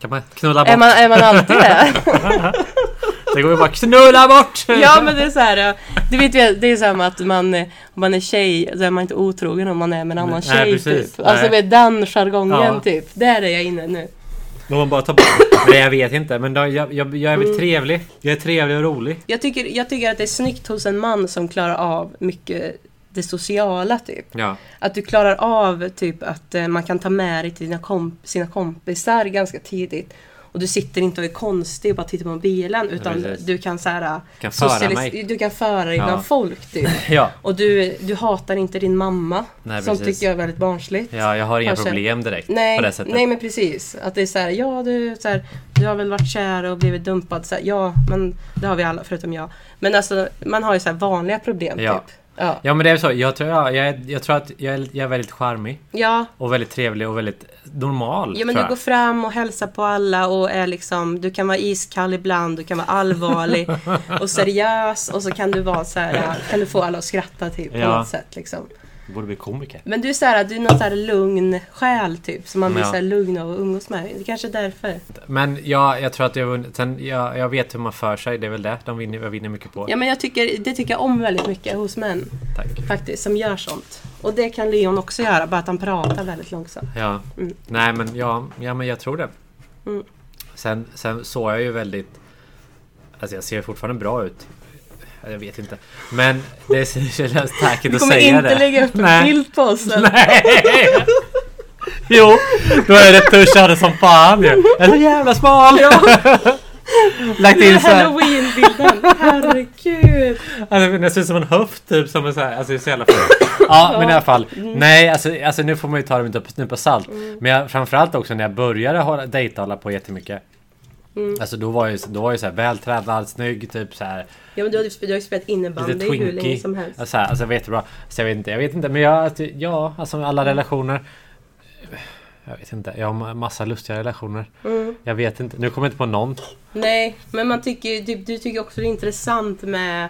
Speaker 2: Kan man knulla
Speaker 1: Är
Speaker 2: bort?
Speaker 1: man, är man alltid det?
Speaker 2: Det går ju bara knulla bort!
Speaker 1: Ja men det är så här, eh, du vet ju, det är så här med att man, eh, om man är tjej, då är man inte otrogen om man är med en annan
Speaker 2: Nej,
Speaker 1: tjej
Speaker 2: precis.
Speaker 1: typ. Alltså
Speaker 2: Nej.
Speaker 1: med den jargongen
Speaker 2: Ja.
Speaker 1: typ, där är jag inne nu.
Speaker 2: Om man bara tar bort... Nej jag vet inte men då, jag, jag, jag är
Speaker 1: Mm.
Speaker 2: väl trevlig. Jag är trevlig och rolig.
Speaker 1: Jag tycker, jag tycker att det är snyggt hos en man som klarar av mycket det sociala typ.
Speaker 2: Ja.
Speaker 1: Att du klarar av typ att eh, man kan ta med dig till dina komp- sina kompisar ganska tidigt. Och du sitter inte och är konstig och bara tittar på bilen utan
Speaker 2: precis.
Speaker 1: du kan så här,
Speaker 2: Kan föra
Speaker 1: socialis-
Speaker 2: mig.
Speaker 1: Du kan föra dig
Speaker 2: Ja.
Speaker 1: bland folk typ.
Speaker 2: Ja.
Speaker 1: Och du, du hatar inte din mamma.
Speaker 2: Nej,
Speaker 1: som
Speaker 2: precis.
Speaker 1: tycker jag är väldigt barnsligt.
Speaker 2: Ja, jag har inga
Speaker 1: Kanske.
Speaker 2: problem direkt
Speaker 1: Nej,
Speaker 2: på det sättet.
Speaker 1: nej men precis. Att det är så här, ja du, så här, du har väl varit kär och blivit dumpad. Så här, ja, men det har vi alla förutom jag. Men alltså man har ju så här vanliga problem
Speaker 2: Ja.
Speaker 1: typ. Ja.
Speaker 2: Ja men det är så, jag tror, ja, jag, är- jag tror att jag är, jag är väldigt charmig
Speaker 1: Ja.
Speaker 2: och väldigt trevlig och väldigt normal.
Speaker 1: ja, men
Speaker 2: tror
Speaker 1: du
Speaker 2: jag.
Speaker 1: går fram och hälsar på alla och är liksom, du kan vara iskall ibland, du kan vara allvarlig och seriös och så kan du vara så här, ja, kan du få alla att skratta typ på
Speaker 2: Ja.
Speaker 1: något sätt liksom.
Speaker 2: Du borde bli komiker.
Speaker 1: Men du är så här, du är någon så här lugn själ typ, som man blir
Speaker 2: Ja.
Speaker 1: så här lugn av att umgås med. Det kanske är därför.
Speaker 2: Men jag, jag tror att jag, vunn- sen, jag, jag vet hur man för sig, det är väl det de vinner, jag vinner mycket på.
Speaker 1: Ja men jag tycker, det tycker jag om väldigt mycket hos män
Speaker 2: Tack.
Speaker 1: faktiskt, som gör sånt. Och det kan Leon också göra, bara att han pratar väldigt långsamt.
Speaker 2: Ja.
Speaker 1: Mm.
Speaker 2: Nej men ja, ja, men jag tror det.
Speaker 1: Mm.
Speaker 2: Sen, sen såg jag ju väldigt... Alltså jag ser fortfarande bra ut. Ja, Jag vet inte. Men det känns tackigt
Speaker 1: Du
Speaker 2: att
Speaker 1: kommer
Speaker 2: säga
Speaker 1: inte
Speaker 2: det.
Speaker 1: lägga upp en
Speaker 2: Nej.
Speaker 1: bild på oss sen.
Speaker 2: Nej! Jo, då är det tuschade som fan ju. Jag är så jävla smal!
Speaker 1: Ja,
Speaker 2: Lagt
Speaker 1: det är
Speaker 2: in såhär.
Speaker 1: halloween-bilden! Herregud!
Speaker 2: Alltså, men jag ser ut som en höft typ. Som en så här, alltså det är så jävla fel. Ja men i alla fall. Nej alltså, alltså nu får man ju ta det med en nypa salt. Men jag, framförallt också när jag började hålla- dejta och hålla på jättemycket. Alltså då var jag ju, då var jag ju såhär vältränad, snygg, typ såhär.
Speaker 1: Ja men du har ju du har ju spelat
Speaker 2: Lite
Speaker 1: innebandy hur länge
Speaker 2: twinky.
Speaker 1: som helst.
Speaker 2: Alltså, här, alltså jag vet jättebra. Så jag vet inte, jag vet inte. Men jag, alltså, ja, alltså alla relationer. Jag vet inte. Jag har massa lustiga relationer.
Speaker 1: Mm.
Speaker 2: Jag vet inte. Nu kommer jag inte på någon.
Speaker 1: Nej, men man tycker ju, typ, du tycker också det är intressant med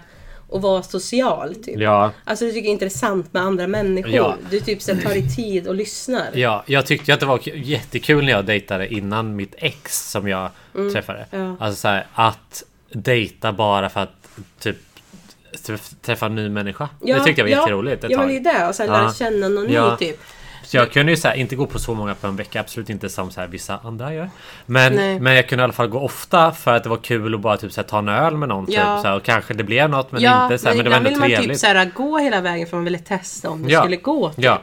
Speaker 1: att vara social typ.
Speaker 2: Ja,
Speaker 1: Alltså du tycker det är intressant med andra människor.
Speaker 2: Ja.
Speaker 1: Du typ så här, tar dig tid och lyssnar.
Speaker 2: ja, jag tyckte ju att det var k- jättekul när jag dejtade innan mitt ex som jag träffade.
Speaker 1: Mm, Ja.
Speaker 2: Alltså så här, att dejta bara för att typ träff- träffa en ny människa.
Speaker 1: Ja,
Speaker 2: det tyckte jag var
Speaker 1: ja.
Speaker 2: jätteroligt ett
Speaker 1: Ja men
Speaker 2: tag.
Speaker 1: det är det, och sen lära
Speaker 2: Ja.
Speaker 1: känna någon ny
Speaker 2: Ja.
Speaker 1: typ.
Speaker 2: Så jag kunde ju så här, inte gå på så många på en vecka, absolut inte som så här vissa andra gör. Men,
Speaker 1: Nej.
Speaker 2: men jag kunde i alla fall gå ofta för att det var kul att bara typ så här, ta en öl med någon.
Speaker 1: Ja.
Speaker 2: Typ, så här, och kanske det blev något men inte så här, men det var
Speaker 1: ibland
Speaker 2: ändå
Speaker 1: vill man typ
Speaker 2: trevligt.
Speaker 1: så här, gå hela vägen för man ville testa om det
Speaker 2: Ja.
Speaker 1: skulle gå. Typ.
Speaker 2: ja,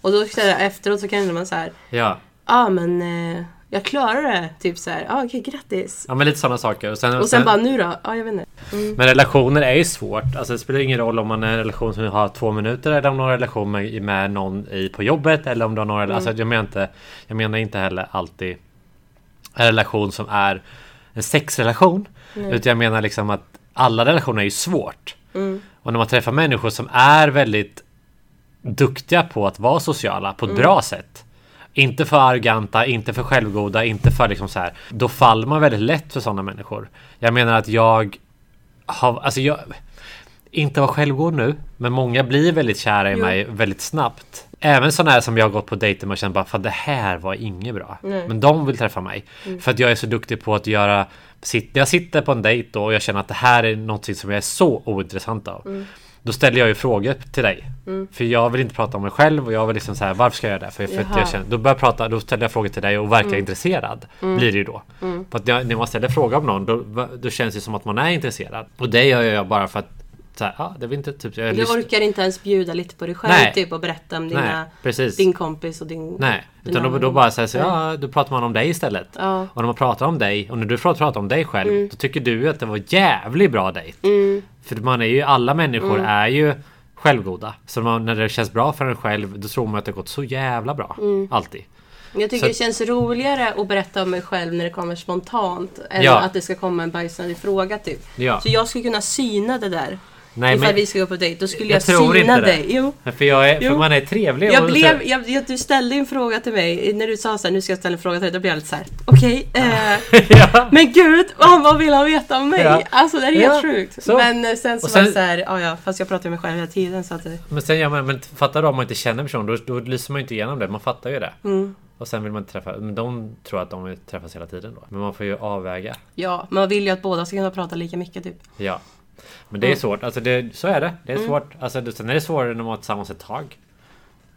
Speaker 1: Och då så här, efteråt så kanske man så här,
Speaker 2: ja.
Speaker 1: ja ah, men eh, jag klarar det. Typ så här, ah, okej grattis.
Speaker 2: ja, men lite sådana saker. Och sen,
Speaker 1: Och sen bara nu då? Ja ah, jag vet inte.
Speaker 2: Men relationer är ju svårt. Alltså det spelar ingen roll om man är i en relation som har två minuter eller om du har en relation med, med någon i, på jobbet eller om du har några... Alltså jag menar, inte, jag menar inte heller alltid en relation som är en sexrelation. Utan jag menar liksom att alla relationer är ju svårt. Och när man träffar människor som är väldigt duktiga på att vara sociala på ett bra sätt. Inte för arroganta, inte för självgoda, inte för liksom så här. Då faller man väldigt lätt för sådana människor. Jag menar att jag har, alltså jag, inte vara självgod nu, men många blir väldigt kära i
Speaker 1: Jo.
Speaker 2: mig väldigt snabbt. Även sådana här som jag har gått på dejter med och känt bara för det här var inget bra. Men de vill träffa mig.
Speaker 1: Mm.
Speaker 2: För att jag är så duktig på att göra sitt, jag sitter på en dejt
Speaker 1: Mm.
Speaker 2: då och jag känner att det här är någonting som jag är så ointressant av. Då ställer jag ju frågor till dig. För jag vill inte prata om mig själv och jag vill liksom så här, varför ska jag göra det? För, för att
Speaker 1: Jaha.
Speaker 2: jag känner, då börjar jag prata, då ställer jag frågor till dig och verkar
Speaker 1: Mm.
Speaker 2: intresserad. Blir det ju då. För att när, när man ställer fråga om någon, då, då känns det som att man är intresserad. Och det gör jag bara för att, så här, ah, det var inte typ... Jag
Speaker 1: Du
Speaker 2: lyssnar-
Speaker 1: orkar inte ens bjuda lite på dig själv
Speaker 2: Nej.
Speaker 1: typ och berätta om
Speaker 2: Nej,
Speaker 1: dina,
Speaker 2: precis.
Speaker 1: din kompis och din...
Speaker 2: Nej,
Speaker 1: din
Speaker 2: utan då,
Speaker 1: annan-
Speaker 2: då bara så här, så, ja, då pratar man om dig istället.
Speaker 1: Ja. Mm.
Speaker 2: Och när man pratar om dig och när du pratar pratar om dig själv då tycker du ju att det var jävligt bra dejt. För man är ju, alla människor
Speaker 1: Mm.
Speaker 2: är ju självgoda. Så man, när det känns bra för en själv då tror man att det har gått så jävla bra.
Speaker 1: Mm.
Speaker 2: Alltid.
Speaker 1: Jag tycker
Speaker 2: Så-
Speaker 1: det känns roligare att berätta om mig själv när det kommer spontant än
Speaker 2: Ja.
Speaker 1: att det ska komma en bajsnödig fråga typ.
Speaker 2: Ja.
Speaker 1: Så jag skulle kunna syna det där.
Speaker 2: Nej,
Speaker 1: ifall
Speaker 2: men-
Speaker 1: vi ska gå på dejt, då skulle
Speaker 2: Jag
Speaker 1: jag,
Speaker 2: tror inte
Speaker 1: syna
Speaker 2: det.
Speaker 1: dig. Jo.
Speaker 2: För, jag är, för
Speaker 1: Jo.
Speaker 2: man är trevlig.
Speaker 1: Jag
Speaker 2: och
Speaker 1: blev,
Speaker 2: så,
Speaker 1: jag, jag, du ställde ju en fråga till mig, när du sa såhär nu ska jag ställa en fråga till dig, då blev jag lite såhär okej, eh,
Speaker 2: ja.
Speaker 1: men gud vad, vad vill han veta om mig?
Speaker 2: Ja.
Speaker 1: Alltså det är helt
Speaker 2: Ja,
Speaker 1: sjukt.
Speaker 2: så.
Speaker 1: Men eh, sen så
Speaker 2: Och
Speaker 1: var det
Speaker 2: sen-
Speaker 1: såhär, ja ja fast jag pratar ju med mig själv hela tiden så att eh, det...
Speaker 2: Men sen gör man, men fattar du om man inte känner personen då, då lyser man ju inte igenom det. Man fattar ju det.
Speaker 1: Mm.
Speaker 2: Och sen vill man inte träffa, men de tror att de vill träffas hela tiden då. Men man får ju avväga.
Speaker 1: Ja, man vill ju att båda ska kunna prata lika mycket typ.
Speaker 2: Ja. Men det
Speaker 1: Mm.
Speaker 2: är svårt. Alltså det, så är det. Det är svårt. Alltså det, sen är det svårare när man är tillsammans ett tag.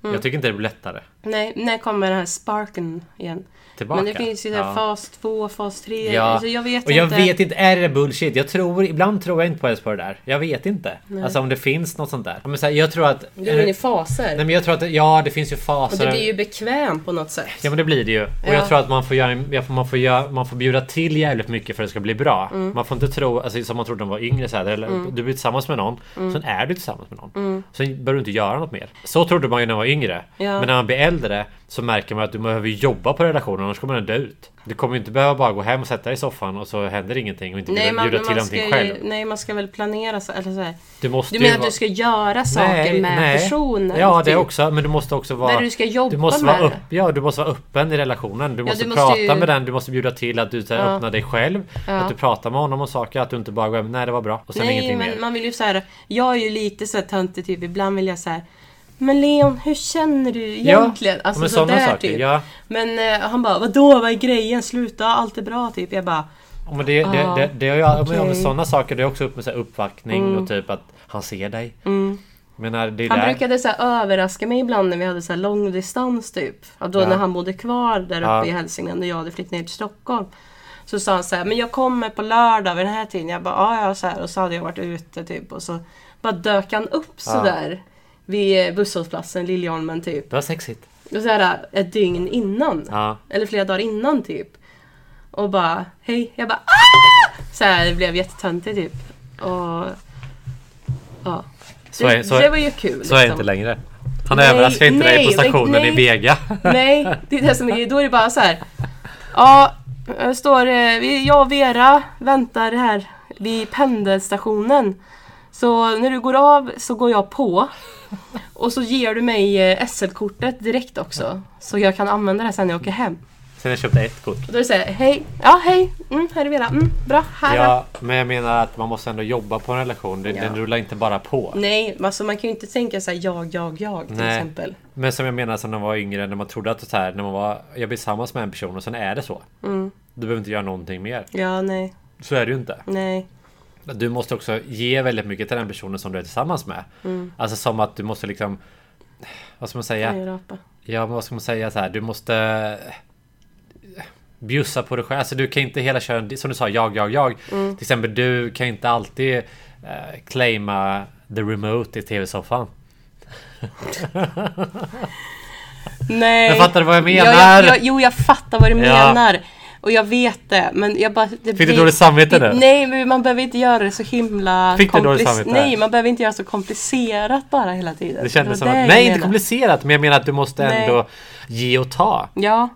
Speaker 1: Mm.
Speaker 2: Jag tycker inte det blir lättare.
Speaker 1: Nej, när kommer den här sparken igen?
Speaker 2: Tillbaka.
Speaker 1: Men det finns ju där
Speaker 2: Ja.
Speaker 1: fas 2, fas 3.
Speaker 2: Ja.
Speaker 1: Alltså jag vet
Speaker 2: och jag
Speaker 1: inte.
Speaker 2: vet inte, är det bullshit? Jag tror, ibland tror jag inte på ens på det där. Jag vet inte. Alltså om det finns något sånt där. Men så här, jag tror att...
Speaker 1: Du är inne i
Speaker 2: eh,
Speaker 1: faser.
Speaker 2: nej men jag tror att, ja det finns ju
Speaker 1: och
Speaker 2: faser.
Speaker 1: du blir ju bekväm på något sätt.
Speaker 2: Ja men det blir det ju. Och
Speaker 1: Ja.
Speaker 2: jag tror att man får, göra, jag får, man, får göra, man får bjuda till jävligt mycket för att det ska bli bra.
Speaker 1: Mm.
Speaker 2: Man får inte tro, alltså, som man trodde när man var yngre, så här, eller, du blir tillsammans med någon,
Speaker 1: Mm.
Speaker 2: sen är du tillsammans med någon. Sen behöver du inte göra något mer. Så trodde man ju när man var yngre.
Speaker 1: Ja.
Speaker 2: Men när man blir äldre så märker man att du behöver jobba på relationen annars kommer den dö ut. Du kommer ju inte behöva bara gå hem och sätta dig i soffan och så händer ingenting och inte
Speaker 1: Nej
Speaker 2: bjuda,
Speaker 1: man,
Speaker 2: bjuda
Speaker 1: men
Speaker 2: till
Speaker 1: man ska,
Speaker 2: någonting
Speaker 1: ju,
Speaker 2: själv.
Speaker 1: nej, man ska väl planera så, eller så här.
Speaker 2: Du måste
Speaker 1: Du menar
Speaker 2: ju
Speaker 1: att
Speaker 2: vara-
Speaker 1: du ska göra saker med personen?
Speaker 2: Ja det
Speaker 1: typ?
Speaker 2: också men du måste också vara...
Speaker 1: Men du ska jobba
Speaker 2: du måste
Speaker 1: med
Speaker 2: vara
Speaker 1: det.
Speaker 2: upp, Ja du måste vara öppen i relationen. Du måste,
Speaker 1: du
Speaker 2: prata
Speaker 1: måste ju-
Speaker 2: med den, du måste bjuda till att du så här,
Speaker 1: Ja.
Speaker 2: öppnar dig själv.
Speaker 1: Ja.
Speaker 2: Att du pratar med honom om saker, att du inte bara går hem, nej det var bra och sen
Speaker 1: Nej
Speaker 2: ingenting
Speaker 1: men
Speaker 2: mer.
Speaker 1: man vill ju så här. Jag är ju lite så här töntig typ. Ibland vill jag så här. Men Leon, hur känner du egentligen? Alltså,
Speaker 2: Ja, men sådana
Speaker 1: sådär,
Speaker 2: saker, ja.
Speaker 1: typ. Men eh, han bara, vadå, vad är grejen? Sluta, allt är bra typ. Jag bara,
Speaker 2: Ja, Men det, det,
Speaker 1: Ah,
Speaker 2: det, det, är ju- ja, men
Speaker 1: okej. Mm.
Speaker 2: sådana saker, det är också upp med så här, uppvaktning och typ att han ser dig. Men när det är
Speaker 1: Han
Speaker 2: där,
Speaker 1: brukade så här överraska mig ibland när vi hade så här långdistans typ. Ja, Då
Speaker 2: Ja.
Speaker 1: när han bodde kvar där uppe
Speaker 2: Ja.
Speaker 1: i Hälsingland och jag hade flyttat ner till Stockholm. Så sa han så här, men jag kommer på lördag vid den här tiden. Jag bara, ja ja så här. Och så hade jag varit ute typ. Och så bara dök han upp så
Speaker 2: Ja.
Speaker 1: där. Vid eh, busshållplatsen, Liljeholmen typ.
Speaker 2: det var sexigt.
Speaker 1: Och så här ett dygn innan.
Speaker 2: Ja.
Speaker 1: Eller flera dagar innan typ. Och bara, hej. Jag bara, ah! Så här, det blev jättetöntigt typ. Och, ja.
Speaker 2: Så är,
Speaker 1: det,
Speaker 2: så,
Speaker 1: det var ju kul.
Speaker 2: så är det
Speaker 1: liksom.
Speaker 2: inte längre. Han
Speaker 1: Nej,
Speaker 2: överraskar inte dig på
Speaker 1: nej,
Speaker 2: stationen
Speaker 1: nej.
Speaker 2: i Vega.
Speaker 1: Nej, det är det som är Då är det bara så här. Ja, jag står eh, vi- jag och Vera väntar här vid pendelstationen. Så när du går av så går jag på. Och så ger du mig eh, SL-kortet direkt också. Så jag kan använda det sen när jag åker hem.
Speaker 2: Sen har jag köpt ett kort.
Speaker 1: Och då säger jag hej, ja hej, mm, här är Vera, mm, bra, här då.
Speaker 2: Ja, men jag menar att man måste ändå jobba på en relation. Den, den rullar inte bara på.
Speaker 1: Nej, alltså man kan ju inte tänka så här jag, jag, jag till
Speaker 2: Nej.
Speaker 1: exempel.
Speaker 2: Men som jag menar som när man var yngre, när man trodde att så här, när man var, jag blir tillsammans med en person och sen är det så. Du behöver inte göra någonting mer.
Speaker 1: Ja, nej,
Speaker 2: Så är det ju inte.
Speaker 1: nej.
Speaker 2: Du måste också ge väldigt mycket till den personen som du är tillsammans med. Alltså som att du måste liksom, vad ska man säga?
Speaker 1: Oj, rapa.
Speaker 2: Ja, men vad ska man säga så här? Du måste eh, bjussa på dig själv. Alltså du kan inte hela köra, som du sa, jag, jag, jag. Till exempel, du kan inte alltid eh, claima the remote i tv-soffan.
Speaker 1: Nej.
Speaker 2: Men fattar du vad jag menar?
Speaker 1: Ja, jag, jag, jo, jag fattar vad du
Speaker 2: Ja.
Speaker 1: menar. Och jag vet det, men jag bara... Det
Speaker 2: du dåligt samvete nu?
Speaker 1: Nej, men man behöver inte göra det så himla...
Speaker 2: Fick du dåligt
Speaker 1: komplic-
Speaker 2: samvete?
Speaker 1: Nej, man behöver inte göra så komplicerat bara hela tiden.
Speaker 2: Det kändes
Speaker 1: var
Speaker 2: som att,
Speaker 1: jag
Speaker 2: nej inte
Speaker 1: menade.
Speaker 2: komplicerat, men jag menar att du måste
Speaker 1: Nej.
Speaker 2: ändå ge och ta.
Speaker 1: Ja.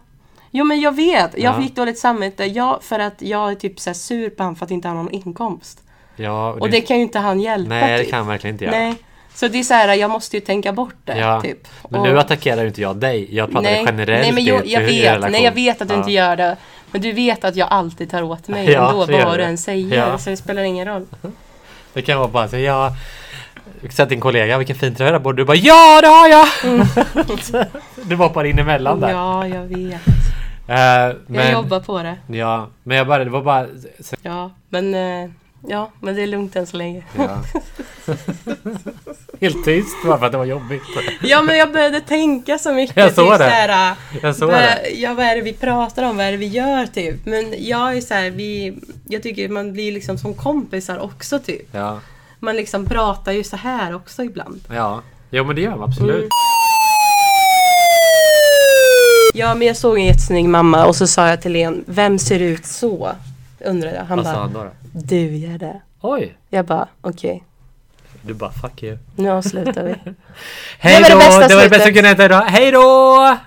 Speaker 1: Jo, men jag vet. Jag
Speaker 2: Ja.
Speaker 1: fick dåligt samvete. Ja, för att jag är typ så här sur på honom för att inte han har någon inkomst.
Speaker 2: Ja,
Speaker 1: Och det kan ju inte han hjälpa.
Speaker 2: nej, det
Speaker 1: typ.
Speaker 2: kan jag verkligen inte göra.
Speaker 1: Nej. Så det är så här, jag måste ju tänka bort det.
Speaker 2: ja.
Speaker 1: Typ.
Speaker 2: Men
Speaker 1: Och-
Speaker 2: nu attackerar ju inte jag dig, jag pratar generellt
Speaker 1: nej, men
Speaker 2: i-
Speaker 1: jag, jag
Speaker 2: i
Speaker 1: vet,
Speaker 2: relation.
Speaker 1: nej, jag vet att du
Speaker 2: Ja.
Speaker 1: inte gör det. Men du vet att jag alltid tar åt mig
Speaker 2: Ja,
Speaker 1: ändå,
Speaker 2: så gör
Speaker 1: vad
Speaker 2: du
Speaker 1: du
Speaker 2: det.
Speaker 1: än säger.
Speaker 2: Ja.
Speaker 1: Så det spelar ingen roll.
Speaker 2: Det kan vara bara så, ja... Säg till en kollega, vilken fin tröja du har på. Du bara, ja det har jag! du hoppar in emellan där.
Speaker 1: Mm. Ja, jag vet.
Speaker 2: Eh,
Speaker 1: Jag
Speaker 2: men,
Speaker 1: jobbar på det.
Speaker 2: Ja, men jag bara, det var bara...
Speaker 1: Ja, men, eh, ja, men det är lugnt än så länge.
Speaker 2: Ja. Helt tyst bara för att det var jobbigt.
Speaker 1: Ja men jag började tänka så mycket.
Speaker 2: Jag såg
Speaker 1: typ
Speaker 2: det.
Speaker 1: såhär,
Speaker 2: Jag såg
Speaker 1: vad-
Speaker 2: det.
Speaker 1: Ja, vad är det vi pratar om? Vad är det vi gör typ? Men jag är så här, vi, jag tycker man blir liksom som kompisar också typ.
Speaker 2: Ja.
Speaker 1: Man liksom pratar ju så här också ibland.
Speaker 2: Ja. Jo men det gör de absolut.
Speaker 1: Mm. Ja men jag såg en jättesnygg mamma och så sa jag till en, vem ser ut så? Undrade jag. Han
Speaker 2: Vad sa
Speaker 1: bara,
Speaker 2: han då? då?
Speaker 1: du gör det.
Speaker 2: Oj!
Speaker 1: Jag bara, okej,
Speaker 2: Du bara fuck you.
Speaker 1: nu avslutar vi.
Speaker 2: Hej
Speaker 1: var det
Speaker 2: då!
Speaker 1: bästa
Speaker 2: Det var det bästa
Speaker 1: slutet.
Speaker 2: jag kunde hända idag. Hej då!